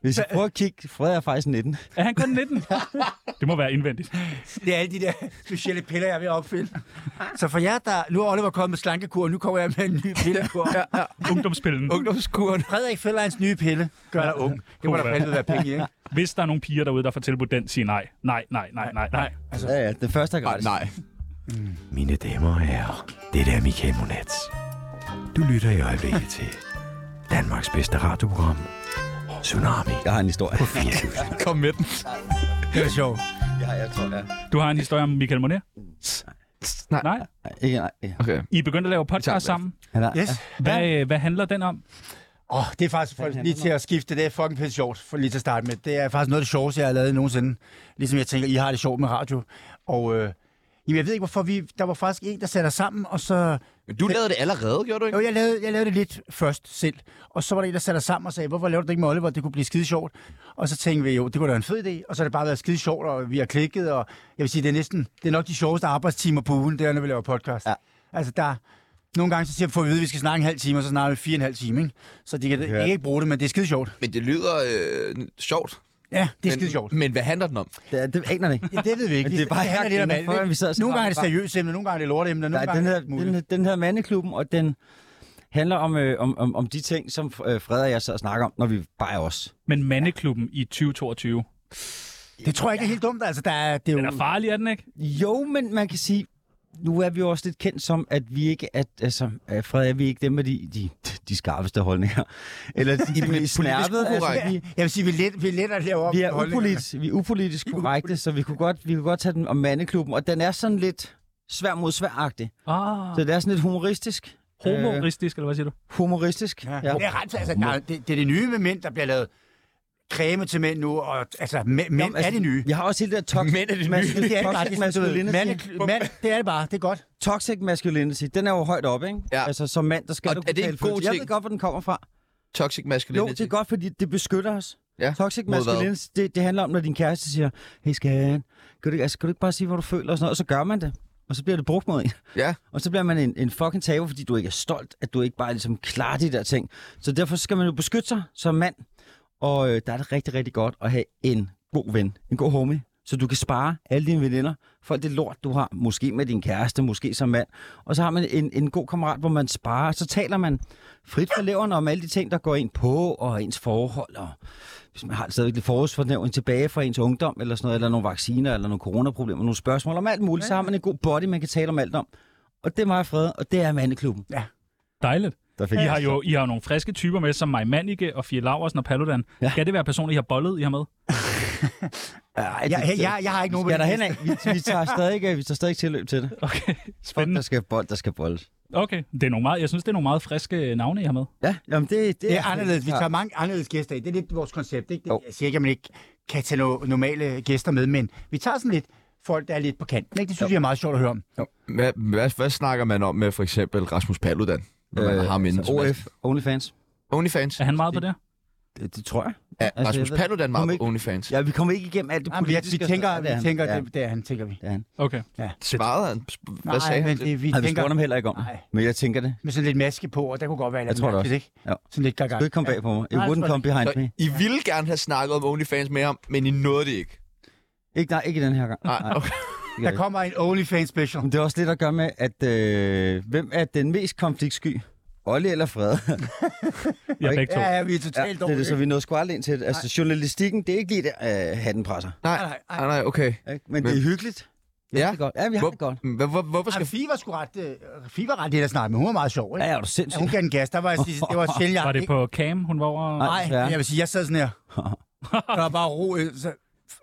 S5: hvis jeg prøver at kigge, fred er faktisk 19.
S2: Er han kun 19? det må være indvendigt.
S4: [laughs] Det er alle de der specielle piller, jeg er ved at opfinde. Så for jer, der... Nu er Oliver kommet med slankekur, og nu kommer jeg med en ny pillekur. [laughs] ja, ja.
S2: Ungdomspillen.
S1: Ungdomskuren.
S4: Frederik Fællerens nye pille gør dig ung. Det må
S2: Puha.
S4: der fandme være penge i, ikke?
S2: Hvis der er nogle piger derude, der får tilbudt den, sig nej. Nej, nej, nej, nej, nej.
S5: Altså, ja, ja, den første er Mm.
S1: Nej,
S5: gratis.
S1: nej. Mine damer og herrer, det er Michael Monats. Du lytter i øjeblikket
S5: [laughs]
S1: til Danmarks bedste radioprogram, Tsunami.
S5: Jeg har en historie.
S1: Kom med den.
S4: Det er sjovt.
S5: ja, jeg tror, ja.
S2: Du har en historie om Michael Monet?
S1: Nej.
S2: Nej.
S5: Nej, ikke- nej, [laughs] ja.
S1: Okay.
S2: I begyndte at lave podcast
S1: tager den
S2: sammen.
S5: Han er,
S4: Yes.
S2: Hvad, øh, hvad handler den om?
S4: Åh, oh, det er faktisk for, lige til at skifte. Det er fucking pisse sjovt, for lige til at starte med. Det er faktisk noget af det sjoveste, jeg har lavet nogensinde. Ligesom jeg tænker, I har det sjovt med radio. Og øh, jamen, jeg ved ikke, hvorfor vi... Der var faktisk en, der satte os sammen, og så...
S1: Men Du lavede det allerede, gjorde du ikke?
S4: Jo, jeg lavede, jeg lavede det lidt først selv. Og så var der en, der satte os sammen og sagde, hvorfor laver du det ikke med Oliver? Det kunne blive skide sjovt. Og så tænkte vi jo, det kunne da være en fed idé. Og så har det bare været skide sjovt, og vi har klikket. Og jeg vil sige, det er næsten... Det er nok de sjoveste arbejdstimer på ugen, det er, når vi laver podcast.
S5: Ja.
S4: Altså, der... Nogle gange så siger, får vi at vide, at vi skal snakke en halv time, og så snakker vi fire og en halv time. Ikke? Så de kan, de kan ikke bruge det, men det er skide sjovt.
S1: Men det lyder øh, sjovt.
S4: Ja, det er
S1: Men-
S4: skide sjovt.
S1: Men hvad handler den om?
S5: det, er- det aner det ikke.
S4: Ja, det ved vi ikke.
S5: Men det er bare-
S4: handler lidt om
S5: jeg
S4: alt,
S5: prøver,
S4: ikke?
S5: vi sidder og
S4: Nogle gange er det
S5: snakker
S4: seriøse emner, nogle gange er det lorteemner, nogle
S5: Nej,
S4: gange
S5: den
S4: er
S5: hedder,
S4: det alt muligt.
S5: den, den hedder Mandeklubben, og den handler om, øh, om, om, om de ting, som øh, Fred og jeg sidder og snakker om, når vi bare er os.
S2: Men mandeklubben i 2022.
S4: Det tror jeg ikke er helt dumt. Altså, der er, det er
S2: Den
S4: jo...
S2: er farlig, er den ikke?
S5: Jo, men man kan sige, nu er vi jo også lidt kendt som, at vi ikke er, altså, øh, Fred og jeg, vi er ikke dem med de, de, de skarpeste holdninger. Eller de, de, de snærpede. Altså,
S1: korrekt.
S5: vi,
S4: Jeg vil sige, vi er let, vi er let at lave op.
S5: vi, er
S4: holdningerne.
S5: upolit, vi er upolitisk korrekte, så vi kunne godt, vi kunne godt tage den om Mandeklubben, og den er sådan lidt svær mod svær-agtig.
S2: Ah,
S5: Så det er sådan lidt humoristisk. Øh,
S2: homoristisk, eller hvad siger du?
S5: humoristisk.
S4: Ja. Det, er ret, altså, der, er- det, det er det nye med mænd, der bliver lavet creme til mænd nu, og altså, mæ- mænd
S5: Jamen,
S4: er det nye.
S5: Jeg har også hele det der toxic,
S1: Mænd er det nye.
S5: masculinity.
S4: Det er det bare, det
S5: toxic
S4: er sådan, du ved,
S5: masculinity.
S4: mand, er- mand, det er det bare, det er godt.
S5: Toxic masculinity, den er jo højt oppe, ikke?
S1: Ja.
S5: Altså, som mand, der skal
S1: Og
S5: du
S1: er
S5: kunne
S1: det en
S5: tale
S1: god
S5: følelser. Jeg
S1: ting?
S5: ved godt, hvor den kommer fra.
S1: Toxic
S5: Jo,
S1: masculinity.
S5: det er godt, fordi det beskytter os.
S1: Ja.
S5: Toxic
S1: Mod hvad?
S5: masculinity, det, det handler om, når din kæreste siger, hey skat, kan du, ikke- altså, kan du ikke bare sige, hvor du føler og sådan noget, og så gør man det. Og så bliver det brugt mod en.
S1: Ja.
S5: Og så bliver man en, en fucking taber, fordi du ikke er stolt, at du ikke bare ligesom klarer de der ting. Så derfor skal man jo beskytte sig som mand. Og øh, der er det rigtig, rigtig godt at have en god ven, en god homie, så du kan spare alle dine veninder for alt det lort, du har. Måske med din kæreste, måske som mand. Og så har man en, en god kammerat, hvor man sparer. Så taler man frit for leveren om alle de ting, der går ind på, og ens forhold, og hvis man har stadigvæk lidt forårsfornævning tilbage fra ens ungdom, eller sådan noget, eller nogle vacciner, eller nogle coronaproblemer, nogle spørgsmål om alt muligt, så har man en god body, man kan tale om alt om. Og det er meget fred, og det er mandeklubben.
S2: Dejligt.
S5: Der fik
S2: I har jo I har jo nogle friske typer med, som Maj Manike og Fie Laversen og Paludan. Ja.
S5: Ja.
S2: Skal det være personer, I har bollet, I har med?
S5: Ej, det,
S4: Jeg, jeg, jeg, jeg har ikke nogen...
S5: vi skal
S4: på den
S5: derhen af. Vi, vi, [laughs] tager stadig, øh, vi tager stadig tilløb til det.
S2: Okay,
S5: Fuck, der
S2: spændende.
S5: skal bold, der skal bold.
S2: Okay, det er nogle meget, jeg synes, det er nogle meget friske øh, navne, I har med.
S5: Ja, jamen det,
S4: Det er anderledes. Vi tager mange anderledes gæster i. Det er lidt vores koncept. Ikke?
S5: Jo.
S4: Det, jeg siger ikke, at man ikke kan tage no- normale gæster med, men vi tager sådan lidt folk, der er lidt på kanten. Ikke? Det synes jo. jeg er meget sjovt at høre om.
S1: Hvad, hvad, hvad snakker man om med for Øh,
S5: Øh,
S1: eksempel Rasmus Paludan? Når man har ham inde?
S5: OF, OnlyFans.
S1: OnlyFans.
S2: Er han meget på det?
S5: Det, det tror jeg.
S1: Er
S5: jeg
S1: Rasmus
S5: ved-
S1: Paludan meget
S5: Kom
S1: på
S5: ikke-
S1: OnlyFans? Ja.
S5: Ja, vi kommer ikke igennem alt det
S4: Jamen, vi, vi
S5: politiske.
S4: tænker,
S5: altså. Ja,
S4: vi tænker
S5: ja.
S4: det, det er han, tænker vi.
S2: Okay.
S1: Svarede han? Hvad sagde
S4: men
S1: han?
S4: det, vi
S5: Har vi
S4: tænker
S5: spurgt ham heller ikke om
S4: Nej.
S5: det? Men jeg tænker det.
S4: med sådan lidt maske på, og der kunne godt være
S5: Jeg tror det
S4: mærkeligt, ikke?
S5: Ja.
S4: Sådan lidt
S5: Du
S4: gagang.
S5: kan ikke komme bag på mig. It
S4: Nej,
S5: wouldn't
S4: tror
S5: come behind me.
S1: Så I ville gerne have snakket om OnlyFans med ham, men I nåede det ikke.
S5: Ikke, nej, ikke den her gang.
S1: Nej, okay.
S5: det gør
S4: Der kommer en OnlyFans special.
S5: Men det er også lidt at gøre med, at øh, hvem er den mest konfliktsky? Olle eller Frede?
S2: Jeg er begge to.
S4: Ja, ja, vi er
S5: ja,
S4: totalt
S5: det er det, så vi nåede sgu aldrig ind til det. Altså, journalistikken, det er ikke lige der, øh, hatten presser.
S1: Nej,
S4: Nej, nej,
S1: nej, nej, okay.
S5: Ikke? Men,
S1: Men-
S5: det er hyggeligt. Vi
S1: Ja.
S5: har det godt. Ja, vi har
S1: Hvor-
S5: det godt.
S1: Hvor, hvor, hvorfor skal...
S4: Skal... Fie var sgu ret, øh, Fie var ret lidt at snakke med. Hun var meget sjov, ikke?
S5: Ja, er du
S4: Ja, hun
S5: sindssyg?
S4: gav den gas. Der var, jeg sige, det var sjældent, jeg...
S2: Var det på cam, hun var over?
S5: Nej.
S4: Nej,
S5: Ja.
S4: jeg vil sige, jeg sad sådan her. Der var bare ro. øh, Så...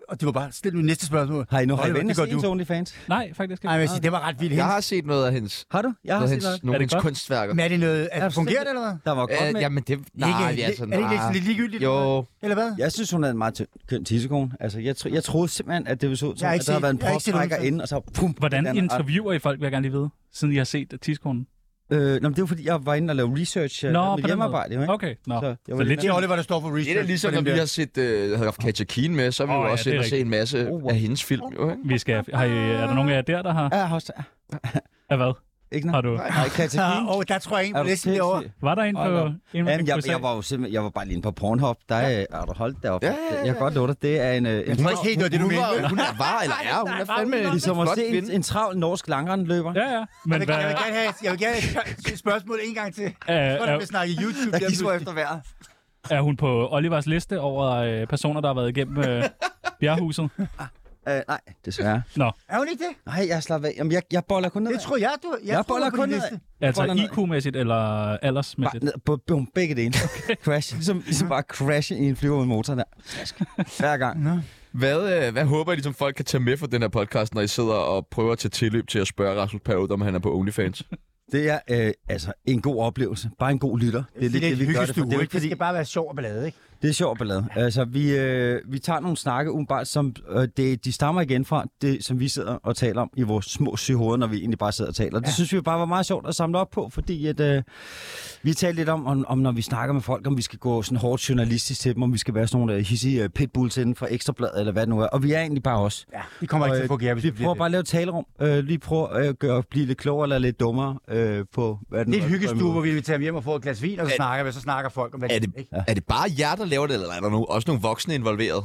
S4: Og det var bare, stil nu næste spørgsmål.
S5: Har I nu har I
S4: Oliver,
S5: vendt
S4: det gør
S5: til
S4: du.
S5: OnlyFans?
S2: Nej, faktisk ikke.
S4: Nej, jeg vil sige, det var ret vildt.
S1: Jeg
S4: Hens.
S1: har set noget af hendes,
S5: Har du? Jeg har
S1: noget af hendes,
S5: set noget.
S1: nogle
S2: Er
S1: af
S2: det
S1: hendes
S2: godt?
S1: kunstværker.
S4: Men er det noget... Er det fungerer det, eller hvad?
S5: Der var godt
S1: Øh,
S5: med.
S1: jamen, det... Nej, vi
S4: ikke,
S1: er sådan...
S4: er det ikke
S1: nej.
S4: lidt ligegyldigt?
S1: Jo,
S4: Eller hvad?
S5: Jeg synes, hun er en meget tynd- køn tissekone. Altså, jeg, tro, jeg troede simpelthen, at det ville se ud som,
S4: Jeg har
S5: at
S4: ikke
S5: der havde
S4: set-
S5: været en
S4: jeg har ikke set
S5: postrækker
S4: nogen-
S5: inde, og så... Pum,
S2: Hvordan
S5: den er-
S2: interviewer I folk, vil jeg gerne lige vide, siden I har set tidskonen?
S5: Øh, nå, men det var fordi, jeg var inde og lavede research øh,
S2: Nå,
S5: med
S2: på den
S5: hjemmearbejde. Jo,
S2: måde.
S5: ikke?
S2: Okay, nå.
S5: Så jeg
S2: Så,
S5: var
S2: så
S5: lidt
S2: lidt...
S4: Det er Oliver, der står for
S1: det
S4: research.
S1: er da ligesom,
S4: for
S1: når
S4: dem
S1: vi
S4: der.
S1: har set, øh, havde haft Katja Keen med, så har vi
S2: Åh,
S1: jo
S2: ja,
S1: også
S2: det er
S1: set, set en masse
S5: Oh,
S1: af hendes film, jo, ikke?
S2: Vi skal... Har I, er der nogen af jer der, der har...
S5: Ja, jeg har også... ja.
S2: Ja, hvad?
S5: Ikke
S2: Har
S5: noget?
S2: du...
S5: Nej,
S2: [laughs]
S5: Katalin.
S4: Ah, Åh, der tror jeg ikke,
S5: Er
S4: på
S5: du
S4: listen derovre.
S5: sindssyg?
S2: Var der en på...
S5: Hold op.
S2: en,
S5: Jamen, jeg,
S2: USA?
S5: jeg, var jo simpelthen, jeg var bare lige inde på Pornhub. Der ja. er du holdt deroppe.
S1: Ja, ja, ja.
S5: Jeg kan godt love dig, det er en... øh, en
S4: Jeg tror ikke helt, det var det, du
S1: Hun,
S4: mente.
S1: var, hun er var, eller er, hun er fandme en
S5: ligesom at
S1: flot
S5: se en,
S1: kvinde.
S5: en travl norsk langrendløber.
S2: Ja, ja. Men
S4: Jeg vil,
S2: hvad...
S4: jeg vil gerne have, jeg vil gerne have et spørgsmål en gang til.
S2: Er,
S4: Så er
S2: er,
S4: vi snakke YouTube.
S5: Jeg
S4: lige
S5: gisper [laughs]
S4: pludselig.
S5: efter vejret.
S2: er hun på Olivers liste over øh, personer, der har været igennem øh, bjerghuset?
S5: Øh, nej, desværre.
S4: Er hun ikke det?
S5: Nej, jeg slapper af. Jamen, jeg, jeg boller kun ned.
S4: Det tror jeg, du... Jeg,
S5: jeg
S4: tror, hun
S5: boller
S4: er på
S5: kun
S4: din
S5: ned.
S4: liste.
S2: Altså
S5: Boller ned.
S2: IQ-mæssigt eller
S5: Bare
S2: aldersmæssigt?
S5: ned, på, på begge dele. [laughs] Crash. Ligesom, ligesom bare crashe i en flyver med motor der. Hver gang.
S1: Hvad, øh, hvad håber I, ligesom, folk kan tage med fra den her podcast, når I sidder og prøver at tage tilløb til at spørge Rasmus Paludan, om han er på OnlyFans?
S5: Det er øh, altså en god oplevelse. Bare en god lytter. Det er lidt det, vi gør det for. Det er jo
S4: Det,
S5: ikke fordi,
S4: skal bare være sjov og ballade, ikke?
S5: Det er sjovt ballade. Altså, vi, øh, vi tager nogle snakke umiddelbart, som øh, det, de stammer igen fra det, som vi sidder og taler om i vores små syge hoveder, når vi egentlig bare sidder og taler. Ja. Det synes vi bare var meget sjovt at samle op på, fordi at, øh, vi talte lidt om, om, om, når vi snakker med folk, om vi skal gå sådan hårdt journalistisk til dem, om vi skal være sådan nogle øh, hissige øh, pitbulls inden fra Ekstrabladet, eller hvad det nu er. Og vi er egentlig bare os.
S4: Ja, det kommer ikke til
S5: øh,
S4: at fungere, hvis
S5: Vi
S4: det bliver
S5: prøver
S4: det.
S5: bare at lave et talerum. Øh, lige prøve øh, at gøre, blive lidt klogere eller lidt dummere øh, på, hvad den
S4: Det er et
S5: på en
S4: hyggestue,
S5: måde.
S4: hvor vi inviterer dem hjem og får et glas vin, og så snakker vi, og så snakker folk om, hvad
S1: Er
S4: de-
S1: det,
S4: ikke?
S1: er det bare jer, der laver det, eller er der no, også nogle voksne involveret?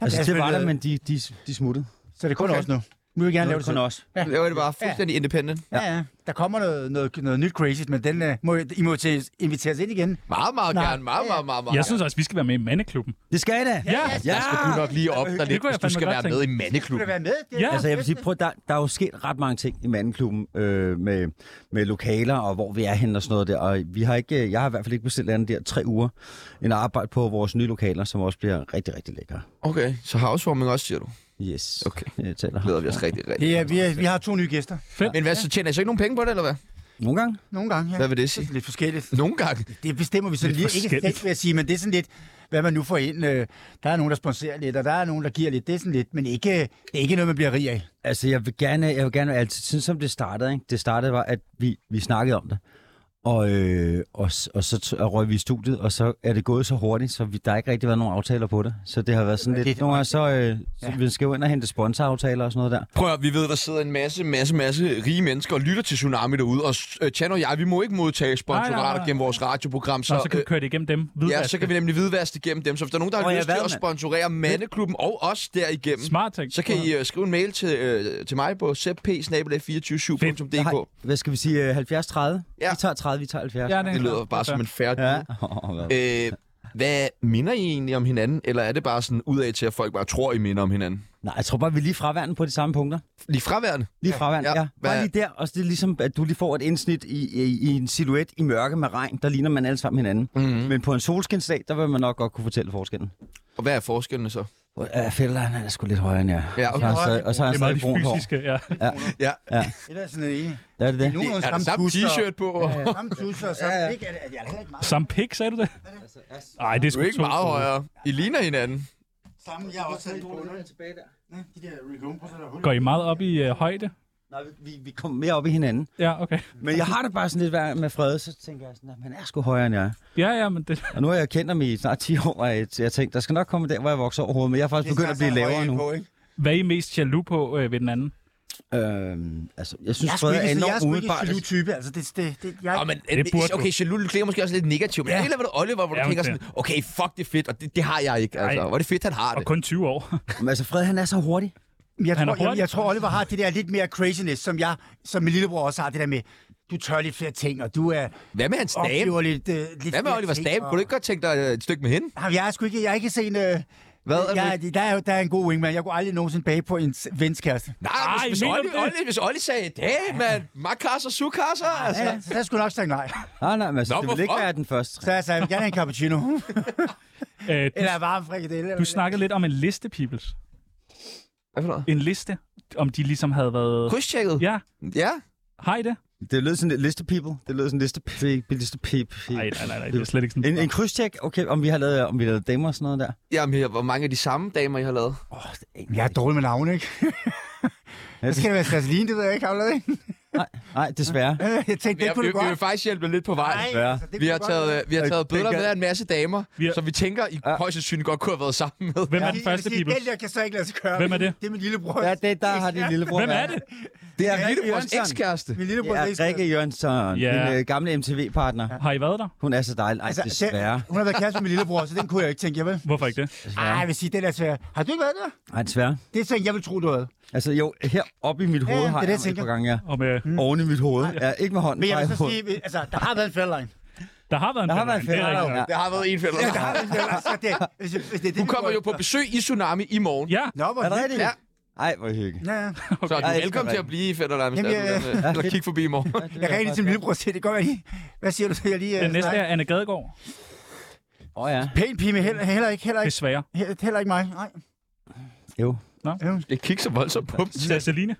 S5: Altså,
S4: Jamen,
S5: det var
S4: altså,
S5: der, men de, de, de smuttede.
S4: Så det er kun os nu. Vi vil gerne lave det
S5: kun
S4: selv.
S5: os.
S1: Ja. Laver I det bare fuldstændig ja. independent?
S4: Ja, ja. Der kommer noget, noget, noget nyt crazy, men den, uh, må, I må til, inviteres ind igen.
S1: Meget, meget
S4: Nej.
S1: gerne. Meget, meget, meget, meget
S2: Jeg synes også, vi skal være med i mandeklubben.
S5: Det Altså, skal I da!
S2: Ja,
S5: Ja!
S1: skal du nok lige op dig lidt, hvis du
S2: kunne jeg fandme
S1: skal
S2: godt
S1: være
S2: tænke
S1: med i
S4: Vil du
S1: mandeklubben.
S4: være med? Det er
S2: Ja.
S4: det
S5: Altså, jeg vil sige,
S4: bedste.
S5: prøv, der, der er jo sket ret mange ting i mandenklubben øh, med, med lokaler og hvor vi er henne og sådan noget der. Og vi har ikke, jeg har i hvert fald ikke bestilt andet der tre uger en arbejde på vores nye lokaler, som også bliver rigtig, rigtig lækre.
S1: Okay, så housewarming også, siger du.
S5: Yes.
S1: Okay.
S5: Jeg taler
S1: Glæder vi os rigtig, rigtig.
S4: Det er, vi, er, vi har to nye gæster.
S1: Men hvad, så tjener I så ikke nogen penge på det, eller hvad?
S5: Nogle gange.
S4: Nogle gange, ja.
S1: Hvad vil det
S4: Det
S1: sige?
S4: er lidt forskelligt.
S1: Nogle gange.
S4: Det bestemmer vi så
S2: Lidt
S4: lige. Ikke
S2: forskelligt.
S4: selv, vil jeg sige, men det er sådan lidt, hvad man nu får ind. Øh, Der er nogen, der sponsorer lidt, og der er nogen, der giver lidt. Det er sådan lidt, men ikke, det er ikke noget, man bliver rig af.
S5: Altså, jeg vil gerne, jeg vil gerne altid, sådan som det startede, ikke? det startede var, at vi, vi snakkede om det. Og, øh, og, s- og så t- og røg vi i studiet, og så er det gået så hurtigt, så vi, der har ikke rigtig været nogen aftaler på det. Så det har været sådan lidt,
S4: lidt-
S5: nogle gange så, øh, så vi skal jo ind og hente sponsoraftaler og sådan noget der.
S1: Prøv at, vi ved, der sidder en masse, masse, masse rige mennesker og lytter til Tsunami derude, og øh, Chan og jeg, vi må ikke modtage
S2: Nej, nej,
S1: sponsorater
S2: nej.
S1: gennem vores radioprogram, så,
S2: Nå, så kan vi køre det igennem dem.
S1: øh, ja, så
S2: Hvidvask.
S1: kan vi nemlig hvidvaske det igennem dem. Så hvis der er nogen, der har
S5: Åh, ja,
S1: lyst til
S5: hvad,
S1: at
S5: mand?
S1: sponsorere Mandeklubben og os derigennem,
S2: Smart ting.
S1: så kan I øh, skrive en mail til, øh, til mig på zepp-247.dk.
S5: Hvad skal vi sige? øh, 70-30?
S1: Ja.
S5: Ja. Vi tager 30, vi tager 70.
S2: Ja, er
S1: Det lyder
S2: klart.
S1: bare som en færdig.
S5: ja. [laughs] Oh, hvad?
S1: Øh, hvad minder I egentlig om hinanden, eller er det bare sådan udad til, at folk bare tror, I minder om hinanden?
S5: Nej, jeg tror bare, vi er lige fraværende på de samme punkter.
S1: Lige fraværende.
S5: Lige fraværende,
S1: ja.
S5: ja. ja. Bare
S1: Hvad-
S5: lige der, og så det er ligesom, at du lige får et indsnit i, i, i en silhuet i mørke med regn, der ligner man alle sammen hinanden.
S1: Mm-hmm.
S5: Men på en solskinsdag, der vil man nok godt kunne fortælle forskellen.
S1: Og hvad er forskellene så?
S5: Ja, Fælder, han er sgu lidt højere end jeg.
S1: Ja,
S5: Og
S1: okay.
S5: så har han stadig- Og så har
S2: Det
S5: han
S2: er meget
S5: stadig
S2: de
S5: brun hår.
S2: fysiske, ja.
S4: Det er sådan en...
S5: Er det det?
S4: Nu
S1: Er der samme
S4: [laughs]
S1: t-shirt på? Ja, ja.
S4: Samme tusser, samme ikke, er det, er det heller ikke meget
S2: Samme pik, sagde du det? Nej, det er
S1: Du
S2: sgu
S1: er ikke
S2: to-
S1: meget højere. I ligner hinanden.
S4: samme. Jeg har også havde på. Ja, de der Rick Humper, så er der hul.
S2: Går I meget op i øh, højde?
S5: Nej, vi- vi, vi kom mere op i hinanden.
S2: Ja, okay.
S5: Men jeg har det bare sådan lidt værd med Frede, så tænker jeg sådan, at han er sgu højere end jeg. er."
S2: Ja, ja, men det...
S5: Og nu har jeg kendt ham i snart 10 år, og jeg jeg tænkte, der skal nok komme der, hvor jeg vokser overhovedet, men jeg er faktisk begyndt at blive lavere nu.
S4: På, ikke?
S2: Hvad er I mest jaloux på øh, ved den anden?
S5: Øhm, altså, jeg
S4: Jeg
S5: synes,
S4: er sgu
S5: Frede
S4: ikke,
S5: er
S4: jeg er
S5: enormt
S4: sgu ikke
S5: umiddelbart.
S4: en jaloux type. Altså, det, det, det, jeg,
S1: Ja, men,
S2: det burde
S1: okay, jaloux klinger måske også lidt negativt, men ja. det er ved Oliver, hvor du
S2: Ja,
S1: ja,
S2: men
S1: tænker
S2: det-
S1: sådan, okay, fuck, det er fedt, og det, det har jeg ikke. Altså,
S2: Ej.
S1: hvor er det fedt, han har
S2: Og
S1: det.
S2: kun 20 år. [laughs]
S5: Men altså, Frede, han er så hurtig.
S4: jeg,
S2: han er
S4: tror, jeg,
S2: hurtig.
S4: jeg, tror, Oliver har det der lidt mere craziness, som jeg, som min lillebror også har, det der med, du tør lidt flere ting, og du er
S1: Hvad med hans dame?
S4: oplever lidt, øh, lidt
S1: Hvad med
S4: flere
S1: Oliver
S4: ting,
S1: Stab?
S4: og-
S1: Kunne du ikke godt tænke dig øh, et stykke med hende?
S4: Jamen, Jeg er sgu ikke, jeg er ikke sådan... Øh,
S1: Hvad er
S4: jeg, der, er, der er en god wingman. Jeg kunne aldrig nogensinde bage på en s- vens kæreste.
S1: Nej,
S2: Ej,
S1: hvis, hvis,
S2: mener
S1: Olli,
S2: du det?
S1: Olli, hvis Olli sagde, hey, mand, makasser, sukasser, altså.
S4: Ja, så der skulle jeg nok sagt nej.
S5: Nej, nej, men altså,
S1: Nå,
S5: det vil ikke
S1: hvorfor?
S5: være den første.
S4: Så jeg sagde, jeg vil gerne have en cappuccino.
S2: Øh, du,
S4: eller en varm frikadelle. eller-
S2: du snakkede lidt om en liste, Peoples.
S1: Hvad for noget?
S2: En liste, om de ligesom havde været...
S1: Krydstjekket?
S2: Ja,
S1: Ja.
S2: har I det?
S5: Det lød sådan lidt liste people. Det lød sådan liste pe- liste peep.
S2: Nej, nej, nej, nej, det er slet ikke sådan.
S5: En, en krydstjek, okay, om vi har lavet, om vi har lavet damer og sådan noget der.
S1: Jamen, hvor mange af de samme damer, I har lavet?
S4: Jeg er dårlig med navn, ikke?
S5: Ja,
S4: Det skal det være Sasseline, det ved jeg ikke, har du lavet det?
S5: Nej, nej, desværre.
S4: Jeg tænkte, det
S1: Ja,
S4: kunne
S1: vi,
S4: du
S1: vi
S4: godt.
S1: vil faktisk hjælpe lidt på vej.
S5: Ja.
S4: altså, det
S1: Vi
S4: kunne
S1: har
S4: du godt
S1: taget,
S4: have.
S1: øh, vi har
S5: Øh,
S1: taget billeder
S5: dengang-
S1: med af en masse damer,
S2: Vi har-
S1: som vi tænker, I
S5: Ja.
S1: højst sandsynligt godt kunne have været sammen med.
S2: Hvem er den
S4: Jeg vil
S2: første,
S4: sige,
S2: Peoples?
S4: Den der kan så ikke lade sig køre.
S2: Hvem er det?
S4: Det er min lillebror.
S5: Ja, det der har din lillebror
S2: Hvem er
S5: været.
S2: det?
S1: Det er
S5: Rikke
S1: lillebrors
S5: Jørgensen.
S1: ekskæreste.
S4: Min lillebror
S5: Det er Rikke Jørgensen,
S2: Ja.
S5: yeah. min øh, gamle MTV-partner.
S2: Har I været der?
S5: Hun er så dejlig. Ej, altså, desværre.
S4: den, hun har været kæreste med min lillebror, så den kunne jeg ikke tænke, jeg vel?
S2: Hvorfor ikke det?
S4: Ej, jeg vil sige, den er svær. Har du ikke været der?
S5: Ej, desværre.
S4: Det er sådan, jeg vil tro, du havde.
S5: Altså jo, her oppe i mit hoved
S4: Ja, ja,
S5: har
S4: det er det,
S5: jeg
S4: jeg
S5: ham et par
S4: tænker.
S5: gange, ja.
S2: Om, øh,
S5: Oven i mit hoved. Ja, ikke med hånden.
S4: Men jeg
S5: bare i
S4: vil så
S5: hovedet.
S4: sige, altså, der har været en færdline.
S2: der har været en
S5: Der har været
S2: deadline, det er rigtigt
S5: fælder.
S2: nok.
S5: Ja.
S1: Det har været en fælder.
S4: Ja, der har været en færdline. Så det, hvis, hvis det, er det,
S1: Du
S4: vi
S1: kommer
S4: går
S1: jo på
S4: efter.
S1: besøg i Tsunami i morgen.
S2: Ja,
S4: Nå, hvor
S5: Er det
S4: hyggeligt.
S5: rigtigt?
S1: Ja.
S5: Ej, hvor hyggeligt.
S4: Ja, ja.
S1: Så er
S5: Ej,
S1: du
S5: det
S1: velkommen
S5: skal
S1: til at blive i fætter, hvis
S4: Jamen,
S1: det er, du gerne vil. øh, eller kig forbi i morgen.
S4: Jeg ligesom ringede til min lillebror og siger, det går jeg lige. Hvad siger du til, jeg lige...
S2: den næste
S4: er...
S2: er Anne Gadegaard.
S5: Åh oh, ja.
S4: Pæn pige, men heller, heller ikke, heller ikke,
S2: Desværre.
S4: heller, heller ikke mig. Nej.
S5: Jo.
S1: Jeg kigger så voldsomt på dem.
S2: Sasseline.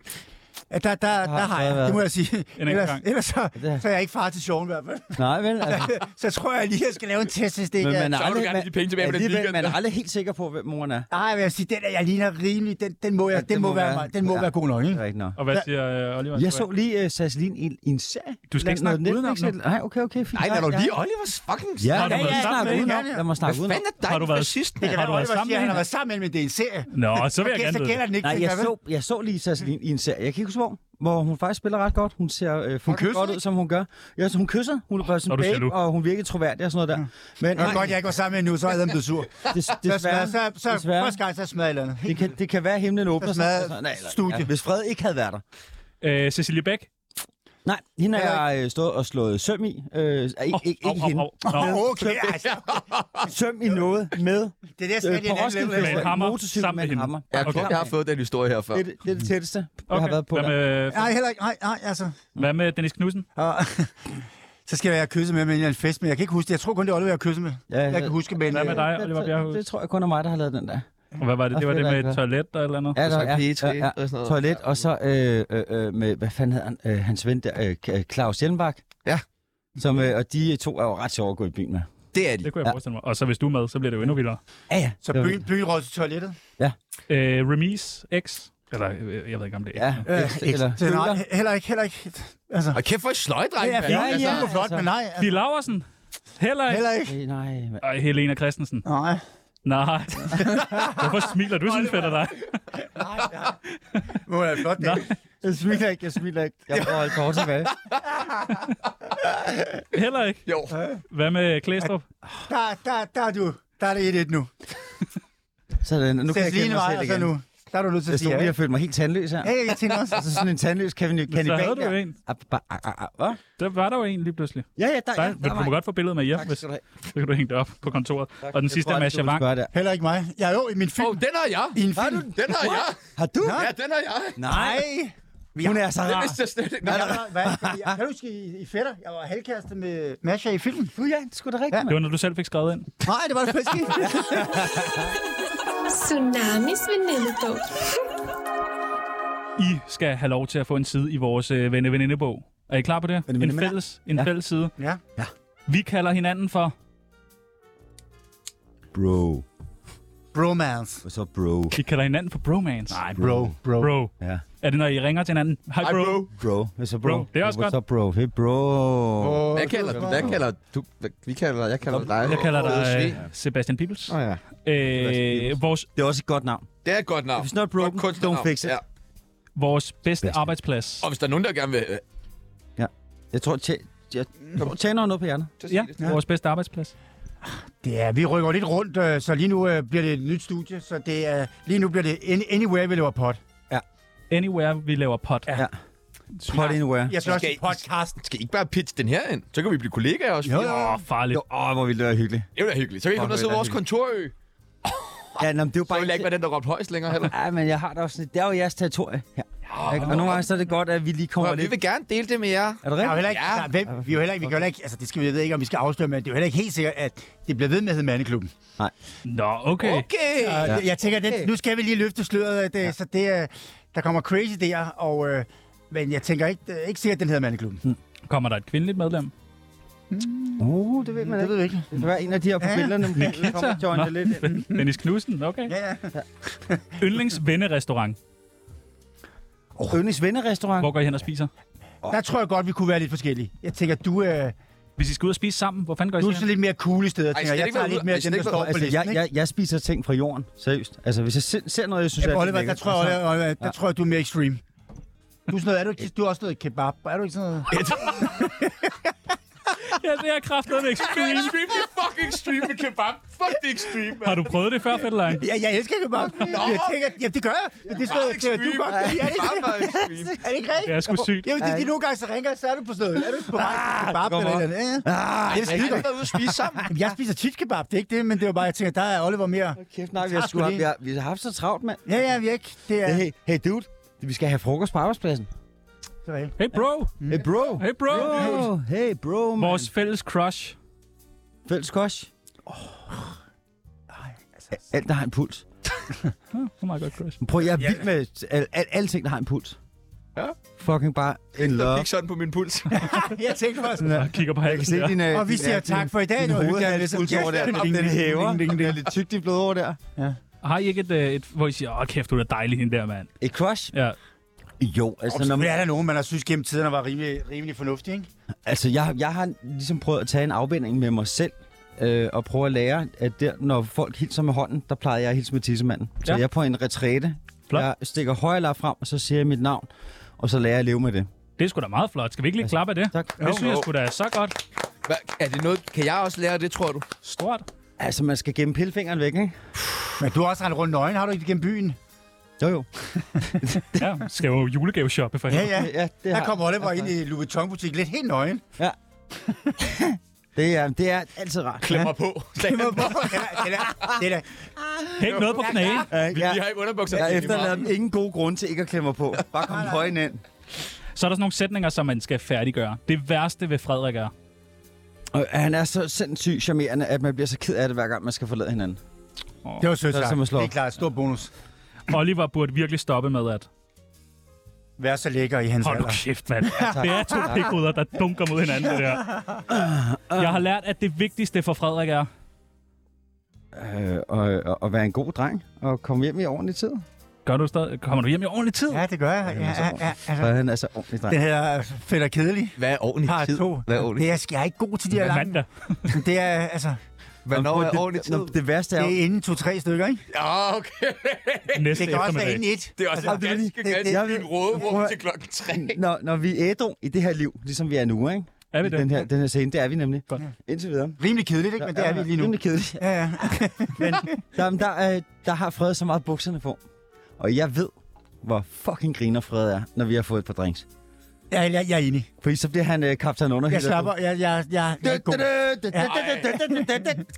S4: Ja, Der, der, der, har jeg, det må jeg sige.
S2: anden
S4: Ellers,
S2: gang.
S4: ellers så,
S5: Det-
S4: så er jeg ikke far til sjoven i hvert fald.
S5: Nej, vel? Altså,
S4: [laughs] Så tror jeg lige, jeg skal lave en test, hvis det ikke
S5: men
S4: er...
S5: man er
S1: Så vil du
S5: aldrig,
S1: gerne have de penge tilbage på den
S5: alligevel,
S1: weekend.
S5: Man er aldrig helt sikker på, hvem moren er.
S4: Nej, vil jeg sige, den er jeg ligner rimelig. Den, den må, jeg,
S5: Ja,
S4: den må, være, mig. den må
S5: ja.
S4: være god nok,
S5: Det
S4: ikke?
S5: er rigtigt nok.
S2: Og hvad siger øh, Oliver?
S5: Jeg så lige uh, Sasselin i, i en serie.
S2: Du skal ikke
S5: Noget
S2: snakke udenom
S5: Netflix-
S2: nu.
S5: Nej, okay, okay, fint.
S1: Nej, lad
S5: Ja,
S1: dog
S5: ja.
S1: lige Olivers fucking...
S5: Ja,
S2: Har du
S5: lad mig
S2: været sammen
S5: snakke
S4: med
S5: udenom.
S4: hende?
S5: Lad mig snakke
S1: Hvad
S5: udenom.
S1: fanden er dig
S2: Har du været-
S1: fascist?
S4: Det kan
S2: Har
S4: da
S2: du
S4: være,
S2: været
S4: Oliver
S2: sammen med
S4: siger, at han har
S2: hende?
S4: været sammen med hende, men det er en serie.
S2: Nå, så vil jeg
S4: Okay,
S2: gerne
S4: så
S2: vide
S4: gælder
S2: det.
S4: den ikke.
S5: Nej,
S4: tænker
S5: jeg
S4: vel?
S5: så, jeg så lige Sasselin i en serie. Jeg kan ikke huske hvor, hvor hun faktisk spiller ret godt. Hun ser øh, fucking
S4: kysser,
S5: godt ud,
S4: ikke?
S5: som hun gør. Ja, så hun kysser. Hun er bare
S2: Og
S5: sådan
S2: du siger
S5: babe,
S2: du.
S5: og hun virker troværdig og sådan noget der. Men
S4: Det var godt, jeg ikke var sammen med hende nu, så havde han blevet sur.
S5: des,
S4: Så, smadrer-
S5: desværre,
S4: så, så,
S5: desværre.
S4: første gang, så smadrer jeg et eller andet.
S5: Det kan, det kan være, at himlen åbner
S4: Der smadrer
S5: Nej, eller-
S4: studie.
S5: hvis Fred ikke havde været der.
S2: Øh, Cecilie Bæk.
S5: Nej, hende
S4: Heller
S5: har jeg øh, stået og slået søm i. Øh, ikke, ikke, ikke hende.
S2: hende.
S4: Okay, altså.
S5: Søm i noget med
S4: Det der skal
S5: øh,
S4: lige
S5: på
S4: en anden
S5: Roskilde
S4: level.
S2: Med en
S5: Festival.
S2: hammer
S5: Motorcykel
S2: sammen med
S5: med en
S2: hende.
S5: hammer.
S1: Jeg tror,
S2: Okay.
S1: jeg har fået den historie her før.
S5: Det, er det- det er det tætteste, jeg har
S2: Okay.
S5: været på.
S2: Hvad
S5: der.
S2: med,
S4: Nej, heller ikke. Nej, nej, altså.
S2: hvad med Dennis Knudsen?
S4: Og, så skal jeg kysse med men jeg er en fest, men jeg kan ikke huske det. Jeg tror kun, det er Oliver, jeg kysser med.
S5: Ja,
S4: Jeg kan
S5: ja.
S4: huske, men...
S2: Hvad med
S4: øh,
S2: dig,
S5: Det,
S2: Oliver
S5: det,
S2: Bjerghus?
S5: det tror jeg kun er mig, der har lavet den der.
S2: Og Hvad var det? Det var det med et toilet og et eller andet?
S5: Ja, der,
S1: så
S5: ja,
S1: P3
S5: ja,
S1: E og sådan
S5: E ja.
S1: noget.
S5: Toilet, og så øh, øh, øh, med, hvad fanden hed han, øh, hans ven der, øh, K- Claus Hjelmbak.
S1: Ja.
S5: Som, øh, og de to er jo ret sjove at gå i byen med.
S1: Det er de.
S2: Det kunne jeg forestille mig. Og så hvis du er med, så bliver det jo endnu vildere.
S5: Ja, ja.
S4: Så byen, byen råd til toilettet.
S2: Øh, Remis X. Eller, øh, jeg ved ikke om det er.
S5: Ja,
S2: X.
S5: øh, eller,
S4: Så nej, heller ikke, heller ikke. Altså,
S1: Og kæft for et sløjdreng,
S4: det er
S1: mand.
S4: fint,
S5: ja,
S4: altså,
S5: ja,
S4: det er flot,
S5: altså.
S4: men nej.
S2: Stig Laversen. Heller ikke.
S4: Heller ikke.
S5: Øh, nej, hva-
S2: Og Helena Christensen.
S4: Nej,
S5: [laughs]
S2: Nej. Hvorfor smiler du sådan fedt af dig?
S4: nej, nej. [laughs] Må jeg flot det.
S2: Nå.
S5: jeg smiler ikke, jeg smiler ikke. Jeg prøver at holde kort tilbage. [laughs]
S2: Heller ikke.
S1: Jo.
S2: Hvad med Klæstrup?
S4: Der, der, der er du. Der er det 1-1 nu.
S5: Sådan, nu kan jeg kende
S4: Ceciline
S5: mig
S4: var
S5: selv
S4: altså
S5: igen.
S4: nu. Der er du nødt til
S5: Jeg
S4: at
S5: stod
S4: sige.
S5: lige
S4: Ja,
S5: og følte mig helt tandløs her.
S4: Ja, jeg tænker også.
S5: Altså sådan en tandløs kan
S2: Så havde
S5: kanibal
S2: du jo
S5: der.
S2: en.
S5: Ah, ba- ah, ah, ah, Hvad?
S2: Der var der jo en lige pludselig.
S5: Ja, ja, der,
S2: Der,
S5: ja,
S2: men du må godt få billedet med hjem,
S5: Tak
S2: hvis
S5: skal du have.
S2: så kan du hænge det op på kontoret. Og den
S5: Jeg
S2: sidste
S5: tror
S2: er
S5: aldrig,
S2: Masha
S5: du ville
S2: Wang.
S5: spørge der.
S4: Heller ikke mig. Jeg er jo i min film.
S1: Åh, den har jeg.
S4: I en film.
S1: Den har jeg.
S5: Har du?
S1: Ja, den har jeg.
S4: Nej.
S5: Hun er så
S1: Det
S5: rar.
S1: vidste jeg slet ikke.
S4: Jeg var, hvad, fordi jeg, kan du huske i, i Fætter? Jeg var halvkæreste med Masha i filmen.
S5: Gud, ja, det er sgu da rigtigt,
S2: Det var, når du selv fik skrevet ind.
S4: Nej, det var det faktisk ikke.
S7: Tsunamis venindebog.
S2: I skal have lov til at få en side i vores øh, venne venindebog. Er I klar på det? En
S5: Venne-veninde.
S2: fælles, en
S5: Ja.
S2: fælles side.
S4: [laughs] Ja.
S2: Vi kalder hinanden for...
S5: Bro.
S4: Bromance.
S5: Hvad så, bro?
S2: Vi kalder hinanden for bromance.
S4: Nej, bro. Bro.
S2: Bro.
S5: Ja.
S2: Er det, når I ringer til hinanden? Hej, bro.
S1: bro.
S5: Bro. Hvad så, bro?
S2: Bro, det er også
S5: Hvad
S2: godt.
S5: så, bro? Hey, bro.
S8: Hvad kalder, hvad kalder du? Hvad, vi kalder, jeg kalder dig.
S2: Jeg kalder dig
S8: Svend.
S2: øh, Sebastian Pibels.
S8: Nå ja.
S2: Øh, vores,
S5: Det er også et godt navn.
S1: Det er et godt navn.
S5: If it's not broken,
S1: Godt
S5: don't
S1: kunstnernavn.
S5: fix it.
S1: Ja.
S2: vores bedste
S5: Bedste.
S2: arbejdsplads.
S1: Og hvis der er nogen, der gerne vil... Øh,
S5: Jeg tror, tæ- jeg tror, tænder noget på hjernen.
S8: Så sig
S2: Ja,
S8: det.
S2: vores bedste arbejdsplads.
S4: Det er, vi rykker lidt rundt, øh, så lige nu øh, bliver det et nyt studie, så det er, lige nu bliver det any- anywhere, vi laver pot.
S2: Anywhere, vi laver pot. Ja.
S5: Pot anywhere.
S4: Jeg skal også
S1: skal
S4: sige
S1: I-
S4: podcast.
S1: Skal I ikke bare pitche den her ind? Så kan vi blive kollegaer også.
S4: Jo,
S1: Åh,
S2: Åh, farligt.
S5: Jo, Åh, hvor ville det være hyggeligt.
S1: Det er jo da hyggeligt. Så kan I
S5: Fuck,
S1: komme og
S5: hvor
S1: sidde
S5: er
S1: på vores
S5: det
S1: kontorø.
S5: Ja, nå, men det er jo
S1: Så
S5: bare...
S1: vil jeg ikke være den, der råbte højst længere
S5: [laughs]
S1: heller.
S5: Ej, men jeg har da også... sådan- Det er jo jeres territorie her. ikke? Og nogle gange så er det godt, at vi lige kommer
S1: Prøv, vi
S5: lidt...
S1: vil gerne dele det med jer.
S5: Er det
S4: Der er jo
S5: rigtigt?
S4: heller ikke,
S1: Ja.
S4: der, er hvem, vi er jo heller ikke, vi kan jo heller ikke, altså det skal vi, jeg ved ikke, om vi skal afsløre, men det er jo heller ikke helt sikkert, at det bliver ved med at hedde Mandeklubben.
S2: Nå, okay.
S1: Okay.
S4: Og ja. jeg tænker, det, nu skal vi lige løfte sløret, at, ja. så det, øh, der kommer crazy der, og, øh, men jeg tænker ikke, det er ikke sikkert, at den hedder Mandeklubben.
S2: Kommer der et kvindeligt medlem?
S5: Uh, det ved man
S4: Det
S5: ikke.
S4: ved vi ikke.
S5: Det kan være en af de her på
S4: Ja.
S5: billederne. Der kommer John
S2: Nå.
S5: det lidt ind.
S2: Dennis Knudsen, okay.
S4: Ja, ja.
S2: Yndlingsvennerestaurant.
S5: Yndlings vennerestaurant.
S2: Hvor går I hen og spiser?
S4: Der tror jeg godt, vi kunne være lidt forskellige. Jeg tænker, du, øh,
S2: Hvis I skal ud og spise sammen, hvor fanden går I så
S4: du er så
S2: hen?
S4: lidt mere cool i stedet.
S1: Ej,
S4: tænker
S1: skal
S4: Jeg,
S1: det
S4: jeg
S1: ikke
S4: tager
S1: være
S4: lidt
S1: ude-
S4: mere
S1: Ej, skal
S4: den,
S1: det ikke
S4: der står
S1: være-
S4: på
S5: Altså,
S4: listen.
S5: jeg,
S4: ikke?
S5: jeg, jeg spiser ting fra jorden. Seriøst. Altså, hvis jeg se- ser noget, jeg synes,
S4: Ja,
S5: er
S4: Oliver, der
S5: lækkert, Altså,
S4: tror jeg, altså-
S5: så-
S4: Oliver, Oliver, der tror jeg, du er mere extreme. Du er, sådan noget, er du, ikke, du er også noget kebab. Er du ikke sådan noget?
S2: Ja, det er kraftedeme extreme.
S1: Extreme, det er fucking extreme med kebab. Fuck det er extreme,
S2: Har du prøvet det før, Fetterlein?
S4: Ja, jeg elsker kebab. Jeg tænker, ja, det gør jeg. Men det er sådan noget, jeg tænker, du godt. kan lide. Er det ikke
S1: Bare extreme.
S4: er det ikke
S2: Det
S4: rigtigt?
S2: er sgu sygt.
S4: Jo, det er de nogle gange, så ringer, så er du på sådan noget. Er du ikke på vej til kebab
S5: kommer
S4: eller et eller andet? Ja. Det er
S1: Har I
S4: skide
S1: ikke
S4: godt.
S1: været ude at spise sammen?
S4: Jamen, Jeg spiser tit kebab, det er ikke det, men det var bare, jeg tænker, der er Oliver mere.
S5: Kæft, nej, vi har,
S4: Tak
S5: sgu
S4: for
S5: haft,
S4: det.
S5: vi, har, vi har haft så travlt, mand.
S4: Ja, ja, vi er ikke. Det er...
S5: Hey, hey, dude. Vi skal have frokost på arbejdspladsen.
S4: Så er det.
S2: Hey, bro.
S4: Mm.
S5: Hey, bro.
S2: Hey, bro.
S5: Bro. Hey, bro, man.
S2: Vores fælles crush.
S5: fælles kosh. Oh. Alt, der har en puls.
S2: Oh my god, crush.
S5: Prøv, jeg er vild med al, al, alle ting, der har en puls.
S1: Ja.
S5: Fucking bare in
S1: Der
S5: love.
S1: gik sådan på min puls.
S4: [laughs] Jeg tænkte faktisk.
S2: Jeg kigger på halsen der.
S5: din,
S4: Og vi siger tak for i dag.
S5: Din
S4: Det var hyggeligt, at
S5: hoved
S4: det
S5: ligesom
S4: sådan-
S5: over der.
S4: Ding,
S5: Om
S4: ding,
S5: den
S4: ding,
S5: hæver.
S4: ding, ding,
S5: Den
S4: ding.
S5: er lidt tyk, de bløde over der.
S2: Har I ikke et, øh, et hvor I siger, åh kæft, du er da dejlig, hende der, mand.
S5: Et crush?
S2: Ja.
S5: Jo, altså,
S4: Om,
S5: når
S4: selvfølgelig
S5: man,
S4: er der nogen, man har synes gennem tiderne var rimelig, rimelig fornuftig, ikke?
S5: altså jeg, jeg har ligesom prøvet at tage en afvinding med mig selv, øh, og prøve at lære, at der, når folk hilser med hånden, der plejede jeg at hilse med tissemanden. Så
S2: Ja.
S5: jeg er på en retræte.
S2: Flot.
S5: Jeg stikker højre lap frem, og så siger jeg mit navn, og så lærer jeg at leve med det.
S2: Det er sgu da meget flot. Skal vi ikke lige klappe af det?
S5: Tak.
S2: Det synes jeg sgu da er så godt.
S1: Hvad, er det noget, kan jeg også lære det, tror du?
S2: Stort.
S5: Altså, man skal gemme pillefingeren væk, ikke?
S4: Men du har også rendt rundt nøgen, har du ikke det gennem byen?
S5: Jo, jo.
S2: Ja, skal jo julegaveshoppe for
S4: Ja,
S2: hende.
S4: ja.
S5: Ja, det,
S4: Der
S5: har,
S4: kom Oliver ind i Louis Vuitton-butik lidt helt nøgen.
S5: det, er, det er altid rart.
S1: Klemmer på.
S4: Det var hvorfor? [laughs] Det er- det er- det er-
S2: Hæk noget på knæene.
S5: Ja,
S1: Vi,
S5: jeg,
S1: vi har ikke underbukser.
S5: jeg
S1: Det er
S5: efterlader
S1: meget-
S5: dem ingen gode grund til ikke at klemme på. Bare kom højen ind.
S2: Så er der sådan nogle sætninger, som man skal færdiggøre. Det værste ved Frederik er.
S5: Og han er så sindssygt charmerende, at man bliver så ked af det, hver gang man skal forlade hinanden.
S4: Det var sødt
S5: Så er det
S4: sagt.
S5: som at slå
S4: Det er
S5: op.
S4: klart. Stor bonus.
S2: Oliver burde virkelig stoppe med at...
S4: Vær så lækker i hans
S2: Hold nu
S4: alder.
S2: kæft, mand. Det er to pikhoveder, der dunker mod hinanden, det der. Jeg har lært, at det vigtigste for Frederik er...
S5: Øh, og, og, og være en god dreng, og komme hjem i ordentlig tid.
S2: Gør du stadig? Kommer du hjem i ordentlig tid?
S4: Ja, det gør jeg. Ja, ja, ja,
S5: Så
S4: altså,
S5: han er så ordentlig dreng.
S4: den hedder fedt og kedelig.
S8: Hvad er ordentlig
S4: Part
S8: tid?
S4: 2.
S8: Hvad er ordentlig,
S4: Det er, jeg er ikke god til de her
S2: Hver
S4: lange.
S2: mandag.
S4: Det er, altså,
S8: Hvornår er ordentlig tid?
S5: Nå, det værste er jo,
S4: det er inden to-tre stykker, ikke?
S1: [laughs] Ja, okay.
S2: Næste
S4: Det kan også være
S2: eftermiddag.
S4: inden et.
S1: Det er også
S4: Altså,
S1: et ganske,
S4: det- det-
S1: ganske
S5: jeg ved-
S1: fint råderum
S5: Prøv at-
S1: til klokken tre.
S5: når, når vi er ædru i det her liv, ligesom vi er nu, ikke?
S2: Er vi
S5: I Den
S2: det?
S5: her, den her scene, det er vi nemlig.
S2: Godt.
S5: Indtil videre.
S4: Rimelig kedeligt, ikke? Men det er vi lige nu.
S5: Rimelig
S4: [laughs]
S5: kedeligt.
S4: Ja, ja.
S5: Der, men der, øh, der har Fred så meget bukserne på. Og jeg ved, hvor fucking griner Fred er, når vi har fået et par drinks.
S4: Ja, jeg, jeg er enig.
S5: Fordi så bliver han øh, kaptajn underhylder.
S4: Jeg slapper. Jeg, jeg, jeg, jeg, jeg er god.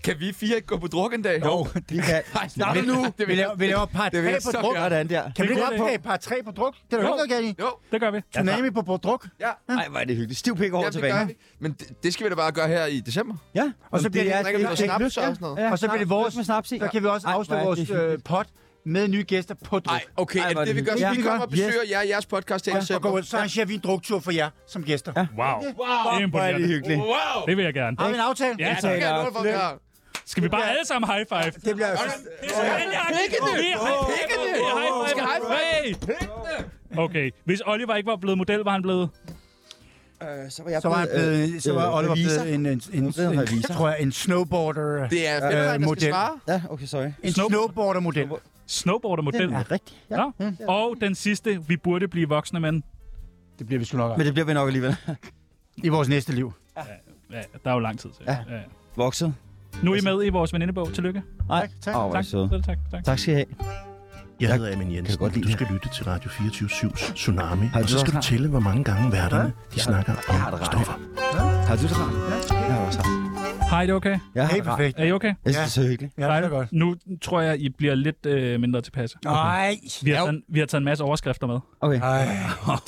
S1: Kan vi fire ikke gå på druk en dag? Jo.
S5: Vi kan. Stop
S1: men-
S5: nu!
S1: Det
S4: Vi
S1: vil jeg.
S4: laver, vi laver par
S1: Det vil
S4: 3
S1: jeg
S4: på
S1: så
S4: druk.
S1: gerne.
S5: Sådan der.
S4: Kan vi ikke
S2: Det er en god
S4: optage par 3 på druk? Det er der
S2: Jo.
S4: jo ikke noget galt i.
S1: Jo.
S2: Det gør vi.
S4: Tsunami på, på druk.
S1: Ja.
S5: Ej, hvor er det hyggeligt. Stiv pik over
S1: Jamen,
S5: til
S1: det gør
S5: vandet.
S1: vi. Men det, det skal vi da bare gøre her i december.
S5: Ja.
S4: Og så bliver det-
S1: Drikker vi noget
S4: det er
S1: snaps
S4: lyst,
S1: og
S4: ja.
S1: sådan noget?
S4: Og så bliver det vores.
S5: Med snaps i.
S4: Så kan vi også
S5: Ej, hvor
S4: afslutte
S5: er
S4: vores
S5: det
S4: øh,
S5: hyggeligt.
S4: pot med nye gæster på druk.
S1: Nej, okay,
S5: Ej,
S1: er
S5: hvor
S1: det det,
S5: er
S1: vi
S5: det
S1: gør?
S5: hyggeligt.
S1: vi
S5: Ja,
S1: kommer og
S5: vi gør.
S1: besøger jer i jeres podcast her i
S4: Og
S1: december.
S4: går ud, så arrangerer vi en druktur for jer som gæster. Ja.
S2: Wow.
S4: øh,
S5: Hvor er det
S2: Imponerende.
S5: hyggeligt.
S1: Wow!
S2: Det vil jeg gerne.
S4: Har vi en aftale?
S2: Ja,
S1: Det kan jeg love dig for, vi har.
S2: Skal vi bare alle sammen high five?
S4: Det bliver...
S2: Pikkene! Pikkene! High five! High five! Okay. Hvis Oliver ikke var blevet model, var han blevet...
S5: Øh, så var jeg øh,
S4: Så var, han blevet, så var Oliver blevet en, en, en,
S5: Hun blev
S4: en, en
S5: revisor.
S4: tror jeg, en snowboarder.
S8: Det er fem, der skal
S4: model.
S8: svare.
S5: Ja, okay, sorry.
S4: En
S2: Snow-
S4: snowboarder-model.
S2: Snowboarder-model.
S5: Ja, rigtigt. Ja.
S2: Nå. Og den sidste, vi burde blive voksne mænd.
S4: Det bliver vi sgu nok af.
S5: Men det bliver vi nok alligevel. [laughs]
S4: i vores næste liv.
S2: Ja, der er jo lang tid til.
S5: Ja.
S2: ja.
S5: Vokset.
S2: Nu er I med i vores venindebog. Tillykke.
S5: Nej.
S4: tak.
S5: Åh, hvor er
S2: Tak.
S5: I søde.
S2: Selv tak. tak.
S5: Tak skal I have.
S9: Jeg hedder Amin Jensen,
S5: godt
S9: godt
S5: lide
S9: du
S5: det
S9: skal lytte til Radio 24-7's Tsunami,
S5: du
S9: og så
S5: også
S9: skal du
S5: ret?
S9: tælle, hvor mange gange værterne de snakker om stoffer.
S5: Har du det rart? Ja, jeg har også rart.
S2: Hej, er det okay?
S5: Jeg har
S4: Helt
S5: det rart.
S4: perfekt.
S2: Er I okay?
S5: Jeg synes, det er så hyggeligt.
S4: Ja, det er godt.
S2: Nu tror jeg, I bliver lidt øh, mindre tilpasse.
S4: Nej,
S2: Vi har, taget, vi har taget en masse overskrifter med.
S5: Okay.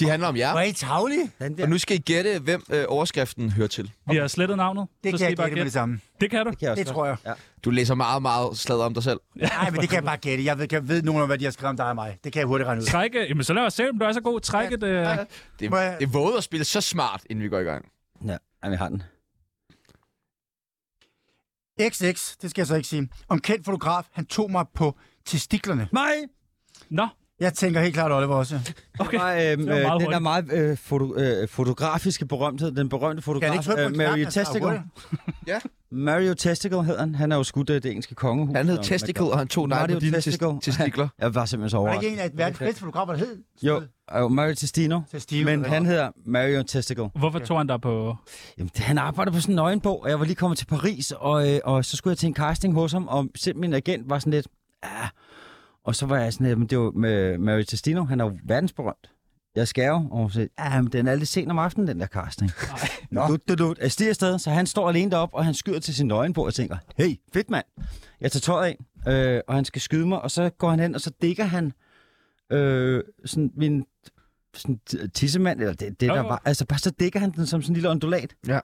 S8: De handler om jer.
S4: hvor er I tavlige?
S8: Og nu skal I gætte, hvem øh, overskriften hører til.
S2: Vi har slettet navnet. så
S4: Det kan
S2: skal I
S4: jeg
S2: bare
S4: gætte med det samme.
S2: Det kan du.
S5: kan jeg også
S4: Det tror jeg.
S8: Du læser meget, meget sladder om dig selv.
S4: Nej, men det kan jeg bare gætte. Jeg ved, jeg ved nogen om, hvad de har skrevet om dig og mig. Det kan jeg hurtigt regne ud.
S2: Trække. Jamen, så lad os se, om du er så god. Trække det. øh.
S8: Det,
S4: Må jeg-
S8: det er våget at spille så smart, inden vi går i gang.
S5: Ja, Jamen, jeg har den.
S4: XX, det skal jeg så ikke sige. Om kendt fotograf, han tog mig på testiklerne.
S5: Mig!
S2: Nå,
S4: Jeg tænker helt klart Oliver også.
S5: Okay. Var, øhm,
S2: var
S5: øh,
S2: meget
S5: den der meget øh, foto, øh, fotografiske berømthed, den berømte
S4: Kan
S5: fotograf, øh,
S4: han ikke trykke på Altså, en knap,
S5: Mario
S4: han tager
S5: Testicle.
S4: hurtigt?
S5: Mario Testicle hedder han. Han er jo skudt af det engelske kongehus.
S8: Han hed
S5: Og-
S8: Testicle, og han tog nej
S5: Mario
S8: på dine
S5: Testicle.
S8: tes- testikler.
S5: Jeg var simpelthen så
S4: Var der ikke en
S5: overrasket.
S4: af verdens bedste fotografer, der hed?
S5: Jo, jo, Mario Testino.
S4: Testino,
S5: Men
S4: ja.
S5: han hedder Mario Testicle.
S2: hvorfor tog han dig på...
S5: Jamen, det, han arbejder på sådan en nøgenbog, og jeg var lige kommet til Paris, og, øh, og så skulle jeg til en casting hos ham, og selv min agent var sådan lidt, ah. Og så var jeg sådan lidt, men det var med Mario Testino, han er jo verdensberømt. Jeg skal jo, og så, ja, men den er lidt sen om aftenen, den der casting. [laughs] Nå. Du, du, du, jeg stiger afsted, så han står alene deroppe, og han skyder til sin nøgenbog og tænker, hey, fedt mand. Jeg tager tøjet af, øh, og han skal skyde mig, og så går han hen, og så dækker han øh, sådan min sådan t- tissemand, eller det, det
S2: Jo,
S5: der
S2: jo.
S5: var. Altså bare så dækker han den som sådan en lille ondulat,
S8: Ja.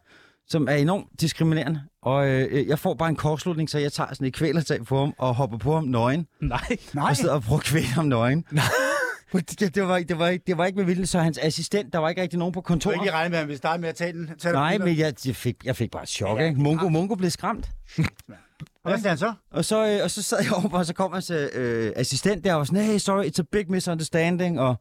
S5: som er enormt diskriminerende. Og øh, jeg får bare en kortslutning, så jeg tager sådan et kvælertag på ham og hopper på ham nøgen.
S2: Nej.
S4: Nej,
S5: Og sidder og prøver at kvæle ham nøgen. Det, det, var, ikke- det, var, ikke- det var ikke med vilje, så hans assistent, der var ikke rigtig nogen på
S4: du ikke
S5: kontoret.
S4: lige regne med, at han ville starte med at tage den. Tage
S5: Nej,
S4: den.
S5: men jeg, jeg, fik, jeg fik bare et chok, ikke? Mungo, Mungo blev skræmt.
S4: Og hvad siger han så?
S5: Og så, øh, og så sad jeg over, og så kom hans øh, assistent der og var sådan, hey, sorry, it's a big misunderstanding. Og,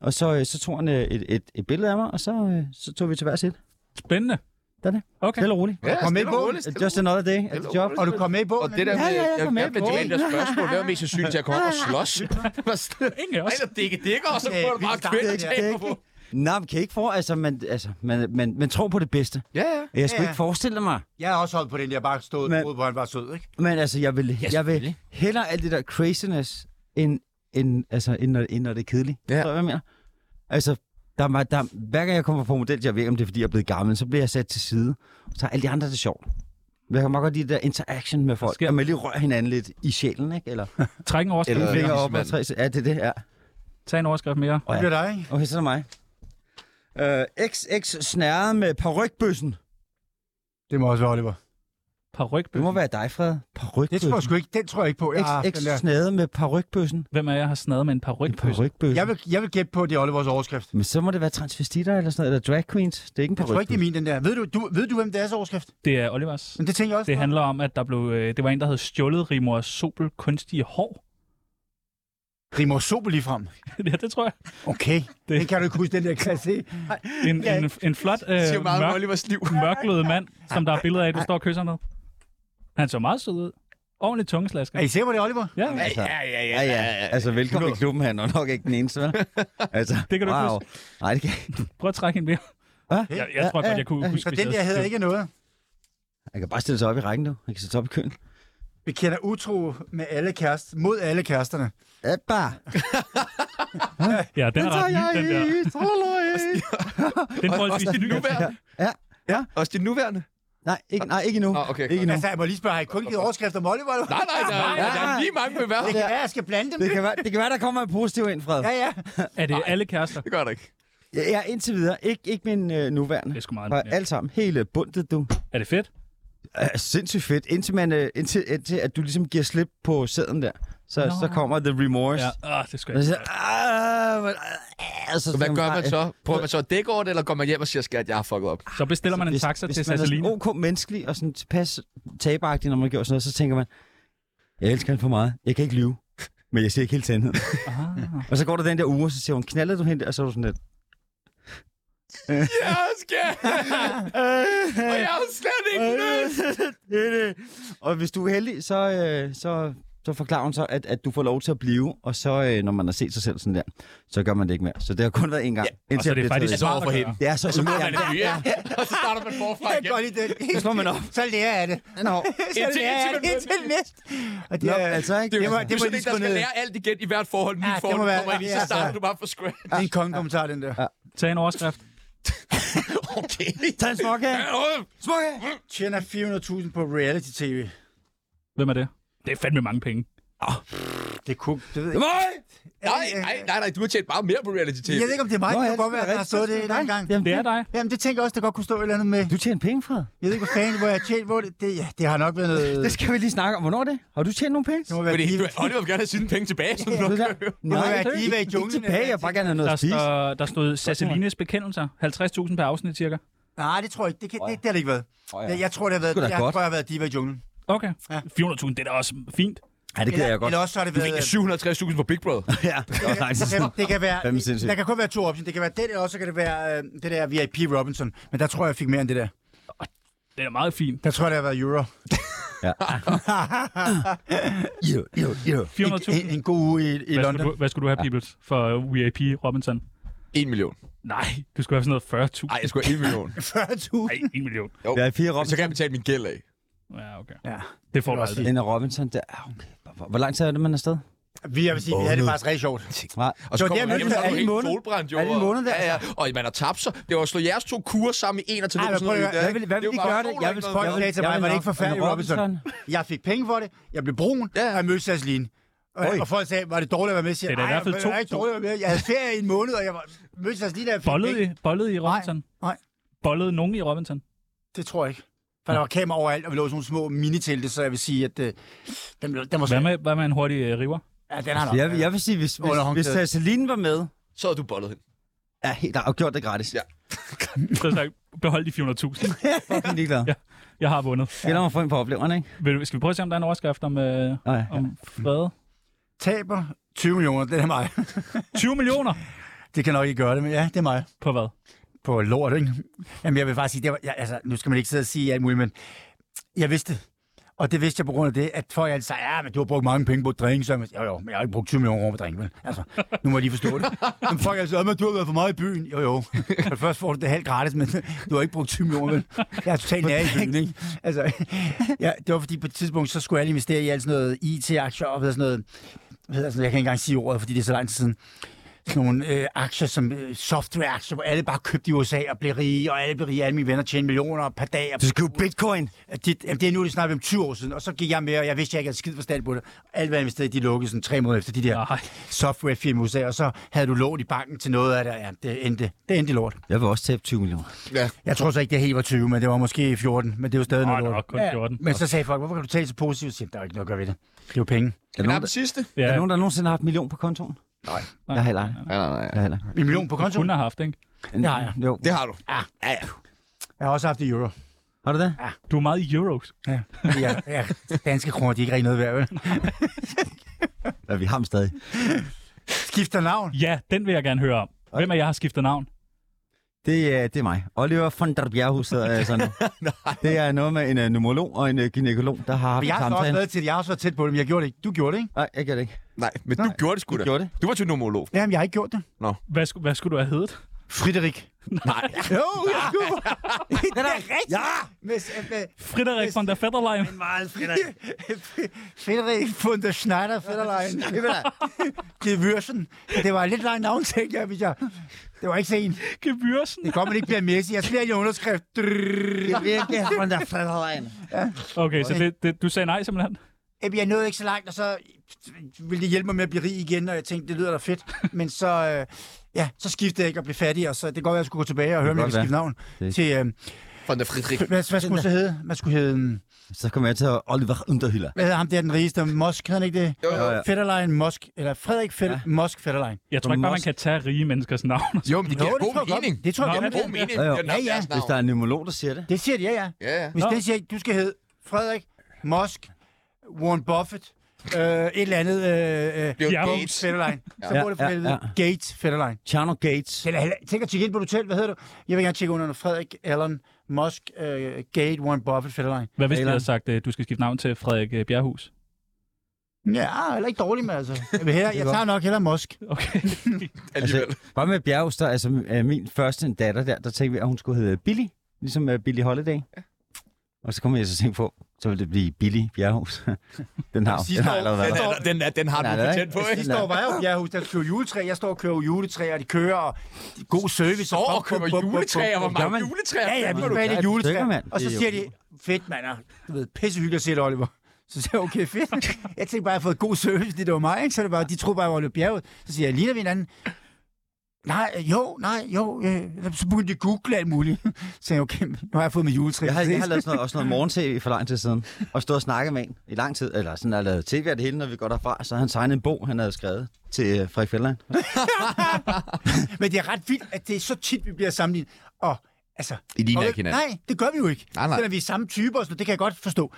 S5: og så, øh, så tog han øh, et, et, et billede af mig, og så, øh, så tog vi til hver sit.
S2: Spændende.
S5: Der er det.
S2: Okay.
S5: Stille og roligt.
S8: Ja, altså,
S4: Kom med
S8: stille og
S4: på.
S8: roligt, stille og
S5: Just another day at the job.
S4: Og du kom med i
S8: Og
S4: båden?
S8: det der
S5: Ja,
S8: med,
S5: ja, jeg
S8: jeg,
S5: var med
S8: jeg, med
S5: på
S8: det
S5: den.
S8: der [laughs] spørgsmål, hvad var mest sandsynligt til at komme [laughs] op og slås? Det var sådan-
S2: Ingen
S8: [laughs] Ej,
S2: også.
S8: der dække dækker, og så
S4: Øh,
S8: prøver du
S4: vi
S8: bare at
S4: starter
S8: kvælde
S4: der.
S8: taber på.
S5: Nej, man kan ikke for, altså, man, altså, man, man, man tror på det bedste.
S8: Ja, ja.
S5: Jeg skulle
S4: Ja, ja.
S5: ikke forestille mig.
S4: Jeg har også holdt på den, jeg bare stod
S5: Men-
S4: og troede på, at han var sød, ikke?
S5: Men altså, jeg vil, jeg vil hellere alt det der craziness, end, end, altså, end, når, end når det er kedeligt.
S8: Ja.
S5: Ja. Så, hvad jeg mener? Altså, der, er meget- der, hver gang jeg kommer på model, jeg ved ikke, om det er, fordi jeg er blevet gammel, så bliver jeg sat til side. Så er alle de andre det sjovt. Men Jeg kan meget godt lide det der interaction med folk.
S2: sker-
S5: At man lige rører hinanden lidt i sjælen, ikke? Eller
S2: Træk en overskrift.
S8: Eller-
S2: mere.
S5: fingre op og
S8: mand.
S5: tre... Ja, det er det, ja.
S2: Tag en overskrift mere.
S5: Og
S4: Det
S5: ja.
S4: bliver dig, ikke?
S5: Okay, så er det mig. Øh, XX snærret med parrykbøssen.
S4: Det må også være Oliver.
S5: Det
S2: Parrykbøs.
S5: må være dig, Fred.
S4: Det tror jeg
S5: Parrykbøssen.
S4: sgu ikke. Den tror jeg ikke på. Jeg, har
S5: XX
S4: den der.
S5: snærret med parrykbøssen.
S2: Hvem af jer har snadet med en
S5: En
S2: parrykbøs?
S5: parrykbøssen.
S4: jeg, vil, jeg vil gætte på, at det er Olivers overskrift.
S5: Men så må det være transvestitter eller sådan noget, eller drag queens. Det er ikke
S4: Jeg
S5: en
S4: tror ikke,
S5: parryk.
S4: det er min, den der. Ved du, du, ved du hvem det er, så overskrift?
S2: Det er Olivers.
S4: Men det tænker jeg også.
S2: Det handler om, at der blev, øh, det var en, der havde stjålet Rimor Sobel kunstige hår. [laughs]
S4: Rimor Sobel lige frem.
S2: ja, det tror jeg.
S4: Okay. Det. Den kan du ikke huske, den der klasse.
S2: En, ja. en, en flot, øh,
S8: Det siger meget om
S2: mørk,
S8: Olivers liv.
S2: mørklødet mand, som der er billeder af, du står og kysser med. Han så meget sød ud. Ordentlig tungeslasker.
S4: Er I sikre på det, Oliver?
S2: Ja,
S5: Altså,
S8: Ja, ja,
S5: ja, ja. Altså, velkommen i klubben her. Nå, nok ikke den eneste, vel? altså,
S2: Det kan du ikke
S5: wow. Nej, det kan jeg ikke.
S2: prøv at trække en mere.
S5: Hva?
S2: Jeg, jeg tror godt, jeg kunne huske,
S4: Så
S2: hvis
S4: altså, den
S2: jeg
S4: der hedder
S2: havde-
S4: ikke noget.
S5: Jeg kan bare stille sig op i rækken nu. Jeg kan sætte sig op i køen.
S4: Vi kender utro med alle kærester, mod alle kæresterne.
S5: Ja, bare.
S2: Ja, den er ret ny, den der. Den er forholdsvis ny.
S8: Nuværende.
S5: Ja.
S8: Ja, [laughs] også de nuværende.
S5: Nej, ikke, nej, ikke endnu.
S8: Nå, okay,
S5: ikke endnu.
S4: Altså, jeg må lige spørge, har I kun givet overskrifter om Oliver? Eller? hvad?
S8: Nej, nej, der,
S4: [laughs]
S5: Nej,
S8: der er
S5: nej.
S8: lige mange med hver.
S4: Det kan være, jeg skal blande dem.
S5: Det kan, være, det kan være, der kommer en positiv ind, Fred.
S4: Ja, ja.
S2: Er det alle kærester?
S8: Det gør der ikke.
S5: Ja, ja indtil videre. Ikke, ikke min øh, nuværende.
S2: Det er sgu meget
S5: Bare
S2: imponerende.
S5: alt sammen. Hele bundet, du.
S2: Er det fedt?
S5: Ja, sindssygt fedt. Indtil, man, øh, indtil, indtil at du ligesom giver slip på sæden der. Så,
S2: Nå.
S5: så kommer the remorse.
S2: Ja,
S5: Ja.
S2: Åh, det skal
S5: Og
S2: jeg.
S5: så, ah, hvor- ah, og så,
S8: Så hvad gør man
S5: Ej,
S8: så? Prøver man så at dække over det, eller går man hjem og siger, skat, jeg har fucket op?
S2: Så bestiller man en
S5: Hvis-
S2: taxa
S5: hvis
S2: til
S5: man er sådan
S2: Sassaline.
S5: ok menneskelig og sådan tilpas taberagtig, når man gjorde sådan noget, så tænker man, jeg elsker hende for meget. Jeg kan ikke lyve. Men jeg siger ikke helt sandheden.
S2: [laughs]
S5: og så går der den der uge, og så siger hun, knaldede du hende? der?" Og så er
S2: [laughs]
S5: du sådan lidt,
S8: Jeg skal! Og jeg har slet ikke lyst!
S5: [laughs] det er det. Og hvis du er heldig, så, øh, så, så forklarer hun så, at, at du får lov til at blive, og så, øh, når man har set sig selv sådan der, så gør man det ikke mere. Så det har kun været en gang. Ja,
S2: Og så er Altså, det faktisk
S1: Så over for hende.
S5: Det er så, så
S8: Nu er man en nye, [laughs] og så starter man forfra
S4: Jeg kan
S8: igen.
S4: godt lide den.
S5: Så slår man op.
S4: Så lærer jeg det. [laughs]
S5: Nå,
S4: Så
S8: Indtil-
S4: lærer jeg
S8: indtil
S4: det
S8: man-
S4: indtil næste. Og det,
S5: Nå,
S4: er-
S5: altså ikke.
S4: det, må,
S8: Det
S4: det
S8: er
S4: må
S8: sådan
S4: lige
S8: en, der
S4: skrive
S8: skal
S4: ned.
S8: lære alt igen i hvert forhold. Mit
S4: Ja, det
S8: forhold
S4: må være-
S8: kommer ind i, så
S4: ja,
S8: starter
S4: ja.
S8: du bare fra scratch.
S4: Det er en kongekommentar, den der.
S2: Tag en overskrift.
S8: Okay.
S5: Tag en smukke. Smukke.
S4: Tjener 400.000 på reality-tv.
S2: Hvem er det? Det er fandme mange penge.
S4: Det kunne... Det ved jeg
S8: Nej, nej,
S4: ikke.
S8: nej, nej, nej, du har tjent bare mere på reality-tv.
S4: øh, Jeg ved ikke, om det er mig,
S5: Nå,
S4: det
S5: ja,
S4: kan
S5: det
S4: godt være, at
S5: er
S4: der har
S5: rigtigt.
S4: stået det en anden gang.
S2: Jamen, det er dig.
S4: Jamen, det tænker jeg også, der godt kunne stå et eller andet med.
S5: Du tjener penge, Fred.
S4: Jeg ved ikke, hvor fanden, hvor jeg har tjent, hvor det... Det, ja, det har nok været noget...
S5: Det skal vi lige snakke om. Hvornår er det? Har du tjent nogle penge?
S4: Det må være
S8: Fordi
S4: diva,
S8: du- Oliver vil gerne have sine penge tilbage, som du
S5: Det
S8: nok
S5: der. Nej,
S4: være
S5: det er
S4: diva i
S5: ikke-
S4: junglen øh,
S5: Ikke tilbage,
S4: eller
S5: jeg vil bare gerne have noget
S2: Der,
S5: at spise.
S2: står, der stod Sasselines bekendelser. 50.000 per afsnit, cirka.
S4: Nej, det tror jeg ikke. Det, kan, det, det har det ikke været.
S5: Åh, ja.
S4: Jeg, jeg tror, det har været,
S5: Det skulle da
S4: jeg
S5: godt.
S4: tror, jeg har været diva i junglen.
S2: Okay.
S4: Ja.
S2: 400.000, det er da også fint.
S5: Ja, det gider jeg godt.
S4: Eller også så har det været...
S1: mener 750.000 på Big Brother.
S5: [laughs] Ja, det var faktisk-
S4: Jamen, det kan være,
S5: Fandme sindssygt.
S4: der kan kun være to optioner. Det kan være det der, og så kan det være øh, det der VIP Robinson. Men der tror jeg, jeg fik mere end det der.
S2: Det er da meget fint.
S4: Der tror jeg, det har været euro. [laughs]
S5: Jo, jo, jo.
S2: 400.000.
S4: En, en god uge i, i
S2: Hvad
S4: London.
S2: skulle,
S4: [laughs]
S2: du, hvad skulle du have, Peoples, for øh, VIP Robinson?
S1: 1 million.
S2: Nej, du skulle have sådan noget 40.000.
S1: Nej, jeg skulle have 1 million.
S4: 40.000.
S2: Nej, 1 million.
S5: Der er fire Robinson.
S1: Så kan jeg betale min gæld af.
S2: Ja, okay.
S4: Ja.
S2: Det får du
S4: også
S2: aldrig.
S5: Den er Robinson. Der. Ah, okay. Hvor- hvor- Hvor lang tid er det, man er afsted?
S4: Vi, jeg vil sige, vi havde det faktisk rigtig sjovt.
S5: Nej.
S1: Og
S4: Det var
S1: så kommer
S4: det,
S1: man hjem,
S4: jeg mente,
S1: så er
S4: er
S1: du
S4: det
S1: helt
S4: en måned?
S1: solbrændt, jo.
S5: Er det en
S1: og-
S5: måned der?
S1: Ja, ja. Og man har tabt sig. Det var at slå jeres to kurer sammen i en og tage
S4: Ej,
S1: ned
S4: men
S1: på
S4: prøv
S1: sådan
S4: at
S1: noget.
S4: høre, jeg vil- hvad vil de gøre det? Jeg vil spørge
S5: jeg vil-
S4: til
S5: jeg
S4: mig,
S5: vil
S4: var det
S5: nok-
S4: ikke forfærdeligt,
S5: Anna
S4: Robinson? Jeg fik penge for det, jeg blev brun, og jeg mødte Sasseline. Og,
S5: Oj.
S4: og folk sagde, var det dårligt at være med? Jeg Siger,
S2: Det er da i
S4: "Ej,
S2: hvert fald
S4: det
S2: to-
S4: var ikke dårligt at være med. Jeg havde ferie i en måned, og jeg var, mødte Sasseline, og jeg fik
S2: Bollede
S4: penge.
S2: I, bollede I Robinson?
S4: nej.
S2: Bollede nogen i Robinson?
S4: Det tror jeg ikke. For der var kamera overalt, og vi lå i sådan nogle små minitelte, så jeg vil sige, at øh, den, blev- den var
S2: Hvad
S4: svær.
S2: med, hvad med en hurtig øh, river?
S4: Ja, den har nok.
S5: Jeg, jeg vil sige, hvis, hvis,
S4: Under
S5: hvis
S4: håndklædet.
S5: Celine var med,
S1: Så havde du bollet hende.
S5: ja, helt og gjort det gratis.
S1: Ja.
S5: Ja.
S2: Så har jeg sagt, behold de 400.000.
S5: Fucking ligeglad.
S2: Ja. Jeg har vundet.
S5: Gælder mig for en på opleveren, ikke?
S2: Vil, du- skal vi prøve at se, om der er en overskrift om, øh,
S5: Nå, ja.
S2: om fred?
S4: Taber 20 millioner, det er mig.
S2: 20 millioner?
S4: [laughs] Det kan nok ikke gøre det, men ja, det er mig.
S2: På hvad?
S4: På lort, ikke? Jamen, jeg vil faktisk sige, det var, jeg, altså, nu skal man ikke sidde og sige alt muligt, men jeg vidste det. Og det vidste jeg på grund af det, at folk altid sagde, ja, men du har brugt mange penge på drink, så jeg, jo, jo, men jeg har ikke brugt 20 millioner kroner på drink, vel? Altså, nu må jeg lige forstå det. Men folk altid, ja, men du har været for meget i byen. Jo, jo. Men først får du det halvt gratis, men du har ikke brugt 20 millioner, vel? Jeg er totalt nær i byen, ikke? Altså, ja, det var fordi på et tidspunkt, så skulle jeg lige investere i alt sådan noget IT-aktier og sådan noget, hvad hedder sådan noget, altså, jeg kan ikke engang sige ordet, fordi det er så lang tid siden sådan nogle øh, aktier som øh, software-aktier, hvor alle bare købte i USA og blev rige, og alle blev rige, alle mine venner tjente millioner per dag. Og
S5: Du skal jo bitcoin.
S4: at det, jamen, det er nu, det snart om 20 år siden, og så gik jeg med, og jeg vidste, at jeg ikke havde skid forstand på det. Alt, hvad jeg investerede, i, de lukkede sådan tre måneder efter de der
S2: Nej.
S4: softwarefirma i USA, og så havde du lånt i banken til noget af det, og ja, det endte, det endte i lort.
S5: Jeg vil også tabe 20 millioner.
S4: Jeg tror så ikke, det helt var 20, men det var måske 14, men det var stadig
S2: Nå,
S4: noget
S2: det
S4: lort.
S2: var kun 14.
S4: Men så sagde folk, hvorfor kan du tale så positivt? Jeg siger, der er ikke noget at gøre ved det. Det er jo penge.
S5: Er der
S8: Men er
S5: nogen,
S8: den sidste?
S5: der,
S2: Ja,
S5: er der nogen, der nogensinde har haft en million på kontoen?
S2: nej,
S5: Jeg har heller ikke.
S1: Nej, nej, nej.
S5: Jeg har heller ikke.
S4: En million på kontoen?
S2: Hun har haft, ikke?
S4: har jeg.
S5: Jo.
S1: Det har du.
S4: Jeg har også haft i euro.
S5: Har du det?
S2: Du er meget i euros.
S4: Ja. ja, ja. Danske kroner, de er ikke rigtig noget værd, vel?
S5: Ja, vi har dem stadig.
S4: Skifter navn.
S2: Ja, den vil jeg gerne høre om. Hvem af jer har skiftet navn?
S5: Det er, det er mig. Oliver von der Bjerghus hedder jeg sådan. det er noget med en uh, numerolog og en uh, gynækolog, der har haft
S4: Men jeg
S5: en
S4: har så også
S5: samtale.
S4: været til det. Jeg har også været tæt på det, men jeg gjorde det ikke. Du gjorde det, ikke?
S5: Nej, jeg gør det ikke.
S1: Nej, men du gjorde det sgu da.
S5: Jeg gjorde det.
S1: Du var til nomolog.
S4: Jamen, jeg har ikke gjort det.
S2: Hvad, sku, hvad skulle du have heddet?
S4: Frederik.
S1: Nej.
S4: [laughs] Jo, jeg skulle. det er rigtigt. Ja. Med, med,
S2: Frederik von der Federlein.
S4: [laughs] Frederik von der Schneider [laughs] Federlein. Gevørsen. Det var lidt langt navn, tænkte jeg, hvis jeg... Det var ikke sen.
S2: Gebyrsen.
S4: Det kommer ikke bliver Messi. Jeg slæger lige underskrift. Drrrr.
S5: virkelig von der Frederlein.
S2: Okay, så det, det, du sagde nej simpelthen?
S4: Jamen, jeg nåede ikke så langt, og så ville det hjælpe mig med at blive rig igen, og jeg tænkte, det lyder da fedt. Men så, øh, ja, så skiftede jeg ikke og blev fattig, og så det kan godt være, at jeg skulle gå tilbage og høre, om jeg
S5: godt
S4: kan skifte navn
S5: Det-
S4: til... Øh,
S1: Von der Friedrich.
S4: hvad, hvad skulle man så hedde? Man skulle hedde... øhm,
S5: Så kommer jeg til Oliver Unterhiller.
S4: Hvad hedder ham der, den rigeste? Mosk, hedder han ikke det?
S1: Jo, jo.
S5: ja.
S4: Fetterlein Mosk, eller Frederik Fed ja. Mosk Fetterlein.
S2: Jeg tror ikke bare, man
S5: Mosk.
S2: kan tage rige menneskers navn.
S1: Jo, men det
S4: Jo,
S1: giver
S4: det
S1: god
S4: tror jeg godt.
S1: mening.
S4: Det tror jeg
S1: Jamen,
S4: godt.
S1: god mening.
S5: Ja,
S1: Ja,
S5: jo.
S1: ja.
S4: Ja, ja.
S5: Hvis der er en numerolog, der siger det.
S4: Det siger de, ja, ja.
S1: Ja, ja.
S4: Hvis
S2: Nå.
S4: den siger, du skal hedde Frederik Mosk Warren Buffett øh, et eller andet øh, øh,
S8: Bliver
S2: Bjerg.
S8: Gates.
S4: Fetterlein. Så
S5: Ja,
S4: må det for
S5: ja,
S4: helvede. Gates Fetterlein.
S5: Chano Gates.
S4: Den er heller- Tænk at tjekke ind på et hotel. Hvad hedder du? Jeg vil gerne tjekke under Frederik Allen Musk øh, Gate Warren Buffett Fetterlein.
S2: Hvad hvis de
S5: Eller-
S2: havde sagt, øh, du skal skifte navn til Frederik øh, Bjerghus?
S4: Ja, heller ikke dårlig med, altså. Jeg, vil hellere, jeg tager nok heller Musk.
S1: [laughs]
S2: Okay.
S5: Altså, bare med Bjerghus, der, altså øh, min første datter der, der tænkte vi, at hun skulle hedde Billy. Ligesom uh, Billy Holiday. Ja. Og så kom jeg så tænke på, så ville det blive Billy Bjerghus. [laughs] den har, den har allerede været
S1: Den,
S5: der.
S1: er, den, er, den har
S5: Nej,
S1: du
S5: det er
S1: patent
S5: ikke.
S1: på, ikke?
S4: Sidste år var jeg jo jeg hos der kører juletræ. Jeg står og kører juletræ, og de kører og de- god service.
S1: Står og
S4: Bum, bum,
S1: køber
S4: bum, bum, bum.
S1: juletræer. Hvor
S5: Gør
S1: mange
S5: man?
S1: juletræer?
S4: Ja, ja, vi
S1: finder du?
S4: skal have
S5: der
S4: et juletræ.
S5: er stykker,
S4: Og
S5: mand.
S4: så
S5: Det er
S4: siger
S5: jo-
S4: de, fedt, mand. og Du ved, pissehyggeligt, siger det, Oliver. Så siger jeg, okay, fedt. Jeg tænkte bare, jeg har fået god service, det var mig, ikke? Så er det bare, de troede bare, jeg var Oliver Bjerget. Så siger jeg, ligner vi hinanden? Nej, øh, jo, nej, jo. Øh. Så begyndte de at google alt muligt. Så sagde jeg, okay, nu har jeg fået mit juletræ.
S5: Jeg har, jeg har lavet sådan noget, også noget morgen-tv for lang tid siden, og stået og snakket med en i lang tid, eller sådan, jeg har lavet tv af det hele, når vi går derfra, så har han tegnet en bog, han havde skrevet til øh, Frederik Fjelland.
S4: Men det er ret vildt, at det er så tit, vi bliver sammenlignet. Og, altså,
S1: I ligner
S4: og-
S1: ikke hinanden.
S4: Nej, det gør vi jo ikke.
S1: Nej, nej.
S4: Selvom vi er samme typer og sådan noget, det kan jeg godt forstå.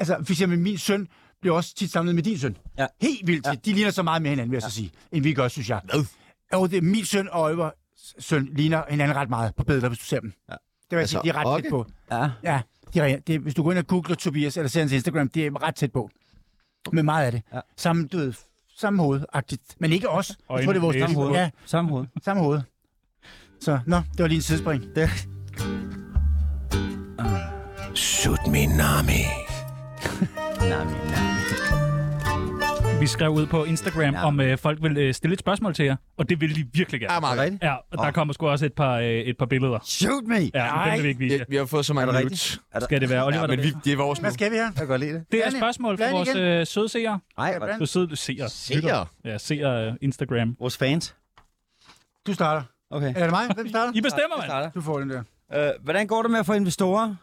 S4: Altså, for eksempel min søn bliver også tit samlet med din søn.
S5: Ja.
S4: Helt vildt tit. De ligner så meget med hinanden, vil jeg så sige, end vi gør, synes jeg. Hvad? Og det er min søn og Oliver søn ligner hinanden ret meget på billeder, hvis du ser dem. Ja. Det vil jeg altså,
S1: Altså,
S4: sige, de er ret okay.
S1: okay.
S4: tæt på.
S5: Ja.
S4: Ja, de er, det, hvis du går ind og googler Tobias eller ser hans Instagram, det er ret tæt på. Med meget af det.
S5: Ja.
S4: Ja. Samme, du ved, samme hovedagtigt. Men ikke os. Jeg
S2: Øjne,
S4: tror, det er vores
S2: næse.
S5: Samme hoved.
S4: Ja,
S5: Ja. Samme hoved.
S4: Samme hoved. Så, nå, det var lige en sidespring.
S5: Det.
S8: Shoot me, Nami.
S5: Nej, men, nej.
S2: Vi skrev ud på Instagram,
S5: Ja.
S2: ja. om øh, folk ville øh, stille et spørgsmål til jer, og det ville de virkelig
S1: Ja,
S2: gerne.
S1: Mark.
S5: Rigtigt?
S2: Ja, og der kommer sgu også et par, øh, et par billeder.
S5: Shoot me! Ja.
S2: Ja, men dem vil vi ikke vise
S1: Ja,
S2: jer.
S1: vi har fået så mange
S5: Er det
S1: nudes.
S5: Er der,
S2: Skal det være Oliver,
S1: Øh, Ja, men
S2: der
S1: vi, det er vores nu.
S4: Hvad skal vi her?
S5: jeg kan godt lide det.
S2: Det er
S4: Blande-
S2: et spørgsmål fra
S4: blande
S2: vores øh, søde seere.
S5: Ej, hvor-
S4: Hvordan?
S2: Du søde seere.
S1: Seere?
S2: Ja, seere øh, Instagram.
S5: vores fans.
S4: Du starter.
S5: Okay.
S4: Eller er det mig? Hvem starter?
S2: I bestemmer,
S5: Jeg
S2: mand.
S5: starter.
S4: Du får den der.
S5: Øh, hvordan går det med at få investorer?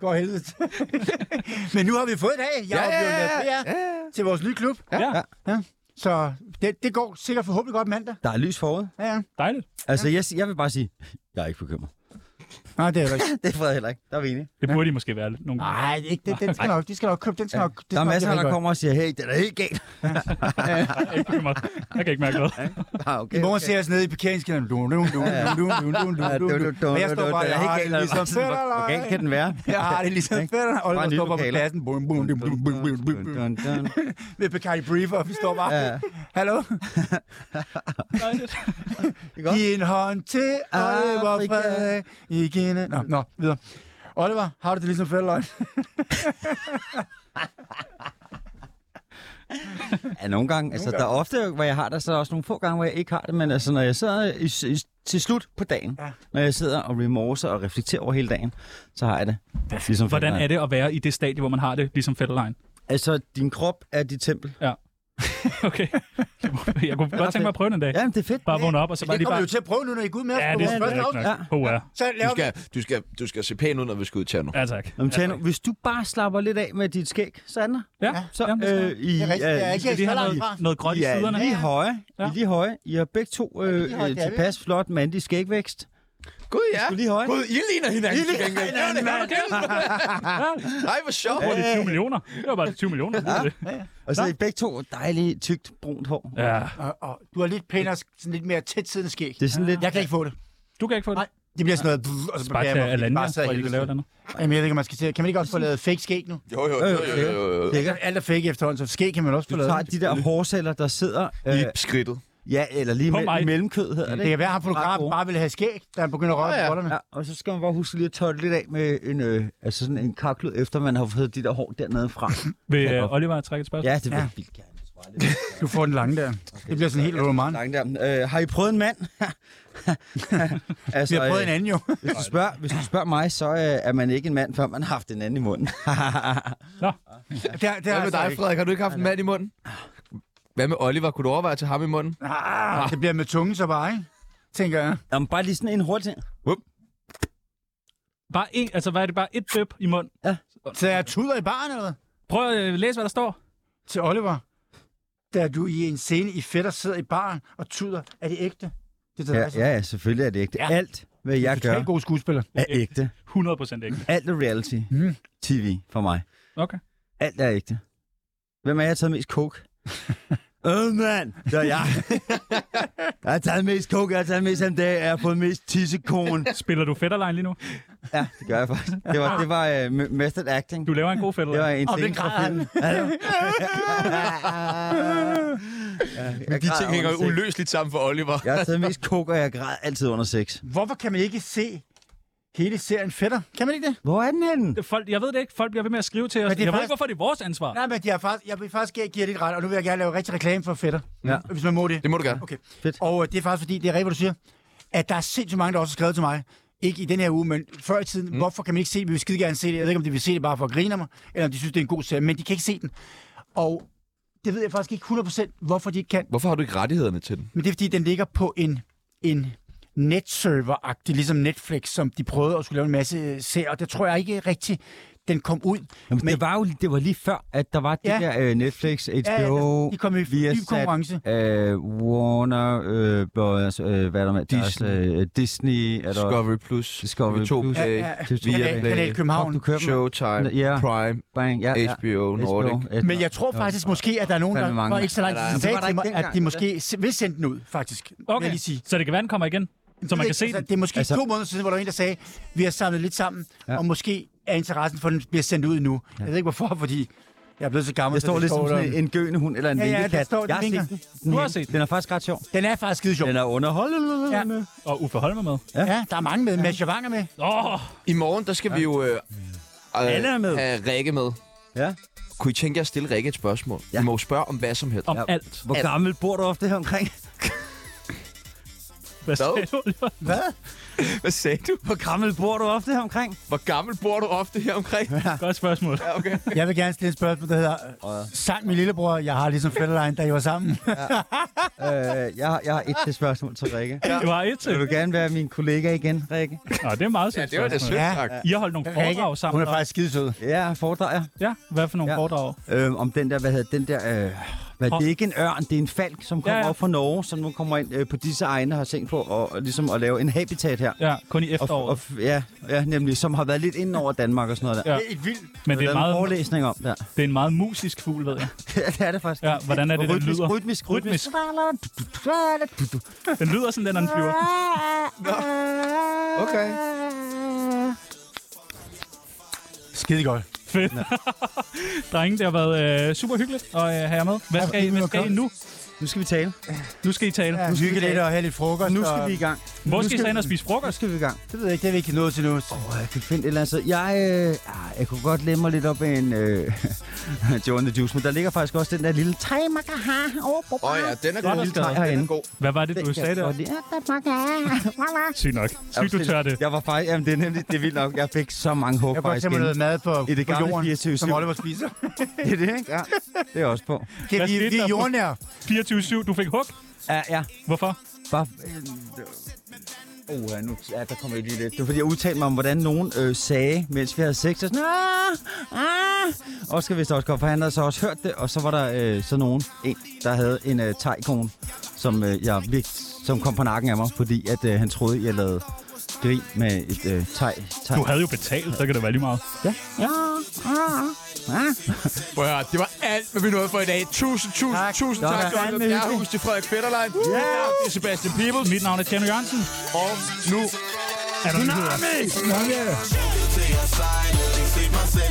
S4: Går helvede til. [laughs] Men nu har vi fået et af. Jeg ja, ja, ja, ja. til vores nye klub.
S2: Ja,
S4: Så det, det går sikkert forhåbentlig godt mandag.
S5: Der er lys forud.
S4: Ja, ja.
S2: dejligt.
S5: Altså, jeg, jeg vil bare sige, jeg er ikke bekymret. [laughs]
S4: Nej, det er der ikke.
S5: Det er Frederik heller ikke. Der er vi enige.
S2: Det burde de måske være lidt nogle gange.
S4: Nej, det er ikke det, den skal nok. De skal nok købe. Den skal nok. Det
S5: Der er
S4: skal nok
S5: masser,
S4: blive
S5: der
S4: rigtig
S5: kommer og siger, hey, det er da helt galt.
S1: Ah.
S2: [laughs] Jeg er ikke bekymret. Jeg kan ikke mærke noget.
S5: [laughs] Ah,
S4: godt. I
S5: okay,
S4: morgen
S5: okay.
S4: ser jeg os nede i parkeringskælderen. Du, du, du, du, du, du, du,
S5: Ja, du-
S4: du,
S5: du-
S4: du,
S5: du-
S4: du. Og jeg står
S5: du-
S4: bare,
S5: du-
S4: jeg
S5: helt
S4: har det
S5: galt, eller
S4: ligesom
S5: hvad? Hvor galt kan den være?
S4: Jeg har det ligesom fedt, og Oliver
S5: nye
S4: står bare på
S5: lokaler.
S4: pladsen. Bum, bum, bum, bum, bum, bum, bum, bum.
S5: Dun, dun, dun.
S4: Med Bacardi Briefer, og vi står
S5: Ja.
S4: bare, hallo?
S2: Dejligt.
S5: Godt.
S4: Giv en hånd til Oliver
S5: Afrika.
S4: Frederik. Igen. en- Nå, nå, videre. Oliver, har du det ligesom fældeløgn?
S5: Ja, nogle gange. Altså, der er ofte, hvor jeg har det, så er der også nogle få gange, hvor jeg ikke har det, men altså, når jeg sidder i, i, til slut på dagen, ja.
S4: Ja.
S5: når jeg sidder og remorser og reflekterer over hele dagen, så har jeg det. Ligesom
S2: Hvordan
S5: fætteren.
S2: er det at være i det stadie, hvor man har det, ligesom Fetterlein?
S5: Altså, din krop er dit tempel.
S2: Okay. [laughs] Jeg kunne godt tænke mig at prøve den en dag.
S5: Jamen, det er fedt.
S2: Bare vågne op, og så bare
S4: Det
S2: lige
S4: kommer vi jo
S2: bare...
S4: til at prøve nu, når I går ud med os.
S2: Ja,
S4: på
S2: det
S4: vores
S2: er
S4: første
S2: rigtigt
S4: afsnit.
S2: nok. HR.
S4: Så
S1: Du
S4: laver vi...
S1: skal, du, skal, du skal se pæn ud, når vi skal ud til nu.
S2: Ja, tak.
S5: Jamen, Tjano, hvis du bare slapper lidt af med dit skæg, Sander,
S2: Ja,
S5: så
S2: Jamen, det skal
S5: øh, I,
S4: Det er rigtigt, det er
S5: I-
S4: ikke
S2: Skal de
S4: så
S2: have
S4: langt
S2: noget,
S4: fra.
S2: noget grønt i
S5: I
S2: siderne?
S5: er lige høje. I er
S2: Ja.
S5: lige høje. I har begge to øh,
S4: lige høje,
S5: øh,
S4: det er vi.
S5: tilpas flot mandig skægvækst.
S1: Gud, ja.
S5: Du er lige høje.
S1: Gud, I ligner hinanden. I ligner hinanden.
S2: Ja,
S1: Nej, hvor sjovt.
S2: det er 20 millioner. Det var bare de 20 millioner. det var det.
S5: Og så er I begge to dejligt, tykt, brunt hår.
S2: Ja.
S4: Og, og, du har lidt pænere, sådan lidt mere tæt siddende skæg.
S5: Det er sådan lidt...
S4: Jeg kan ikke få det.
S2: Du kan ikke få det.
S4: Nej. Det bliver sådan noget... brrr, Og så
S2: Bare
S4: beklager
S2: til
S4: jeg mig, fordi det
S2: Alanya,
S4: bare sad
S2: hvor I kan
S4: helt
S2: lave
S4: stille.
S2: den.
S4: Jamen, jeg ved ikke, om man skal se. Kan man ikke også få lavet fake skæg nu?
S1: Jo, jo, jo, jo, jo, jo, jo.
S5: Lækker.
S4: Alt er fake efterhånden, så skæg kan man også få
S5: Du
S4: lavet.
S5: tager de der hårceller, der sidder...
S1: I
S5: Øh,
S1: skridtet.
S5: ja, eller lige
S2: På
S5: mellem,
S2: mig.
S5: mellemkød hedder
S4: Det
S5: det.
S4: kan være, at ham fotografen
S5: gode.
S4: bare vil have skæg, da han begynder at røre
S1: Ja,
S4: på
S1: ja.
S4: rollerne.
S5: Ja, og så skal man bare huske lige at tørre det lidt af med en, øh, altså sådan en karklud, efter man har fået de der hår dernede
S4: [laughs]
S5: fra.
S2: Vil øh, Oliver trække et spørgsmål?
S5: ja, det vil
S4: Ja.
S5: jeg vildt gerne. Jeg tror aldrig, jeg
S4: Du får den lange der. Det bliver sådan helt roman.
S5: vil snakke der. Øh, har I prøvet en
S4: [laughs]
S5: mand? altså,
S4: Vi har prøvet
S5: øh,
S4: en anden
S5: [laughs]
S4: jo.
S5: Hvis du, spørger, hvis du spørger mig, så øh, er man ikke en mand, før man har haft en anden i munden. [laughs]
S4: Der, der
S1: Hvad med dig, Frederik? Har du ikke haft en mand i munden? Hvad med Oliver? Kunne du overveje til ham i munden?
S4: Ah, det bliver med tungen så bare, ikke? Tænker jeg.
S5: Jamen, bare lige sådan en hurtig ting.
S2: Bare en, altså hvad er det? Bare et døb i mund.
S4: Så jeg tuder i baren, eller hvad?
S2: Prøv at øh, læse, hvad der står.
S4: Til Oliver. Da du i en scene i fætter sidder i baren og tuder, er det ægte? Det er
S5: Ja, ja, Altså. ja, selvfølgelig er det ægte.
S4: Ja.
S5: Alt, hvad jeg
S4: Du er
S5: gør,
S4: en god skuespiller.
S5: er ægte.
S2: 100 procent ikke.
S5: Mm. Alt er reality. TV for mig.
S2: Okay.
S5: Alt er ægte. Hvem er jeg har taget mest [laughs] coke? Øh, mand! Det er [laughs] jeg. jeg har taget mest coke, jeg har taget mest MDA, jeg har fået mest tissekone.
S2: Spiller du fætterlejen lige nu?
S5: Ja, det gør jeg faktisk. Det var, det var uh, method acting.
S2: Du laver en god
S5: Det var
S2: fætterlejen.
S5: en
S4: Og
S5: ting
S4: det
S5: fra
S4: græder han.
S5: filmen. ja,
S1: Men de ting hænger jo uløseligt sammen for Oliver.
S5: Jeg har taget mest coke, og jeg græd altid under sex.
S4: Hvorfor kan man ikke se hele serien Fætter? Kan man ikke det?
S5: Hvor er den henne?
S2: Folk, jeg ved det ikke. Folk bliver ved med at skrive til os. Jeg
S4: Men det er
S2: ved
S4: faktisk-
S2: ikke, hvorfor det er vores ansvar.
S4: Nej, men de har faktisk, jeg vil faktisk give jer lidt ret, og nu vil jeg gerne lave rigtig reklame for Fætter.
S5: Ja.
S4: Hvis man må det.
S1: Det må du gerne.
S4: Okay.
S5: Fedt.
S4: Og øh, det er faktisk fordi, det er rigtigt, hvad du siger, at der er sindssygt mange, der også har skrevet til mig. Ikke i den her uge, men før i tiden. Mm. Hvorfor kan man ikke se det? Vi vil skide gerne se det. Jeg ved ikke, om de vil se det bare for at grine af mig, eller om de synes, det er en god serie, men de kan ikke se den. Og det ved jeg faktisk ikke 100% hvorfor de ikke kan.
S1: Hvorfor har du ikke rettighederne til den?
S4: Men det er fordi, den ligger på en, en netserver-agtig, ligesom Netflix, som de prøvede at skulle lave en masse serier. Og det tror jeg ikke rigtigt, den kom ud.
S5: Jamen,
S4: Men-
S5: det, var jo, det var lige før, at der var det
S4: Ja.
S5: der øh, Netflix, HBO,
S4: Ja, ja, de kom i
S5: Viasat,
S4: dyb konkurrence.
S5: Øh, Warner, øh, Brothers, øh, hvad er der med?
S1: Disney.
S5: Deres, øh, Disney. Er der,
S1: Discovery Plus,
S5: Discovery
S1: TV2
S5: Plus.
S1: Play,
S4: Ja, ja.
S5: Disney.
S1: Via
S4: Kanal,
S1: Play.
S4: Kanal København.
S5: Fuck, du kører Show.
S1: Showtime,
S5: Ja.
S1: Prime,
S5: Bang, ja, ja.
S1: HBO Nordic.
S5: HBO.
S4: Men jeg tror faktisk måske, at der er nogen,
S5: Fandme
S4: der
S5: mange.
S4: var ikke så langt
S5: Ja, der er-
S4: siden
S5: Det
S4: sagde
S5: var der
S4: til mig,
S5: ikke
S4: at de
S5: dengang,
S4: måske se- vil sende den ud, faktisk. vil
S2: Okay.
S4: Jeg lige sige.
S2: Så det kan være, den kommer igen. Så man kan se
S4: altså,
S2: den.
S4: Det er måske
S5: Altså-
S4: altså... to måneder siden, hvor der var en, der sagde, vi har samlet lidt sammen,
S5: Ja.
S4: ja. og måske er interessen for, at den bliver sendt ud nu. Ja. Jeg ved ikke hvorfor, fordi jeg er blevet så gammel.
S5: Jeg
S4: så
S5: står
S4: det
S5: lidt som
S4: der.
S5: sådan en gøende hund eller en
S4: Ja, ja, der
S5: vinkekat.
S4: står- den
S5: jeg har
S4: vinker.
S5: set den. den.
S2: Du har
S5: her.
S2: set den.
S5: Den er faktisk ret sjov.
S4: Den er faktisk skide sjov.
S5: Den er underholdende.
S4: Ja.
S2: Og Uffe Holm er med.
S5: Ja.
S4: ja, der er mange med. Mads Javanger med.
S2: Åh, oh,
S1: I morgen, der skal vi jo øh,
S5: Alle er med.
S1: have Rikke med.
S5: Ja.
S1: Kunne I tænke jer at stille Rikke et spørgsmål?
S5: Ja.
S1: Ja. I må jo spørge om hvad som helst.
S2: om
S5: Ja.
S2: alt.
S5: Hvor
S1: Alt.
S5: gammel bor du ofte her omkring?
S2: Hvad sagde du?
S1: Hvad sagde du?
S5: Hvor gammel bor du ofte her omkring?
S1: Hvor gammel bor du ofte her omkring?
S2: Godt spørgsmål.
S1: Ja, okay.
S4: Jeg vil gerne stille et spørgsmål, der hedder, sang min lillebror, jeg har ligesom Fetterlein, da I var sammen.
S5: øh, jeg, har- jeg har et til spørgsmål til Rikke.
S2: Du har et til.
S5: Vil du gerne være min kollega igen, Rikke?
S2: Nå, det er meget sødt.
S1: Ja, det var det
S2: spørgsmål.
S1: sødt,
S4: Ja.
S1: tak.
S2: I har holdt nogle foredrag sammen.
S4: hun er
S2: og-
S4: faktisk skide sød.
S5: Ja, foredrager.
S2: Ja, hvad for nogle
S5: Ja.
S2: foredrag?
S5: Øh, om den der, hvad hedder den der... Øh, hvad, det er ikke en ørn, det er en falk, som kommer ja,
S2: Ja,
S5: ja.
S2: ja.
S5: op fra Norge, som nu kommer ind øh, på disse egne og har tænkt på og, og, ligesom at lave en habitat her.
S2: Ja, kun i
S5: Og,
S2: efteråret.
S5: og, ja, ja, nemlig, som har været lidt ind over Danmark og sådan noget der.
S2: Ja.
S5: Ja.
S4: Et vildt
S2: Men det er,
S5: en
S2: meget,
S5: forelæsning [laughs] om der.
S2: det er en meget musisk fugl, ved jeg.
S5: ja, det er det faktisk.
S2: Ja, hvordan er det,
S5: Og
S2: den lyder?
S5: rytmisk, rytmisk.
S2: Rytmisk. [laughs] Den lyder sådan, den, når den flyver.
S1: Okay.
S4: skide godt.
S2: Fedt. Drenge, det har været øh, super hyggeligt at øh, have jer med. Hvad skal, I, hvad skal I nu?
S5: Nu skal vi tale.
S2: Nu skal I tale.
S4: Ja, hygge lidt og have lidt frokost.
S5: Nu skal
S4: og-
S5: vi i gang.
S2: Hvor
S5: nu
S2: skal I
S5: skal
S2: så hen
S5: vi-
S2: og spise
S5: Nu
S2: frokost?
S5: skal vi i gang.
S4: Det ved jeg ikke, det er vi ikke nået til nu.
S5: Åh, jeg kan finde et eller andet sted. Jeg, øh, ah, jeg kunne godt læmme mig lidt op af en øh, [laughs] Joe and the Juice, men der ligger faktisk også den der lille Thai Makaha. Åh,
S1: Åh ja, den er
S2: Godt
S1: god.
S2: at skade.
S1: Den
S5: herinde.
S1: er god.
S2: Hvad var det, du sagde der? Sygt nok. Sygt, du tør det.
S5: Jeg var faktisk, jamen det er nemlig, det er vildt nok. Jeg fik så mange håb
S4: Jeg kunne godt
S5: faktisk.
S4: tænke mig noget
S5: inden.
S4: mad på,
S5: I det
S4: på
S5: gamle
S4: jorden,
S5: 24/7.
S4: som Oliver spiser.
S5: [laughs] Det er det, ikke? Ja, det er også på.
S4: Det er,
S2: Hvad
S4: vi,
S2: skete
S4: vi
S2: der
S4: er
S2: på-
S4: jordnære.
S2: 24-7, du fik hug.
S5: Ja, ja.
S2: Hvorfor?
S5: Bare... Oh, nu, ja, der kommer jeg lige lidt. Det var fordi, jeg udtalte mig om, hvordan nogen øh, sagde, mens vi havde sex, og sådan, ah, ah. Oscar vidste også godt, for han havde så også hørt det, og så var der øh, så nogen, en, der havde en øh, tegkone, som, øh, jeg virkelig, som kom på nakken af mig, fordi at, øh, han troede, jeg lavede grin med et øh, teg. teg.
S2: Du havde jo betalt, så kan det være lige meget.
S5: Ja. ja. Ah, ah.
S1: Prøv at høre, det var alt, hvad vi nåede for i dag. Tusind, tusind,
S4: Tak.
S1: tusind
S5: Det var
S1: tak,
S5: fandme
S1: Oliver
S5: hyggeligt.
S1: Bjerrehus til Frederik Fetterlein. Mit navn er Sebastian Peebles.
S2: Mit navn er Tjerno Jørgensen.
S1: Og nu
S2: Er der nyheder?
S10: Til jeg sejlede, ikke set mig selv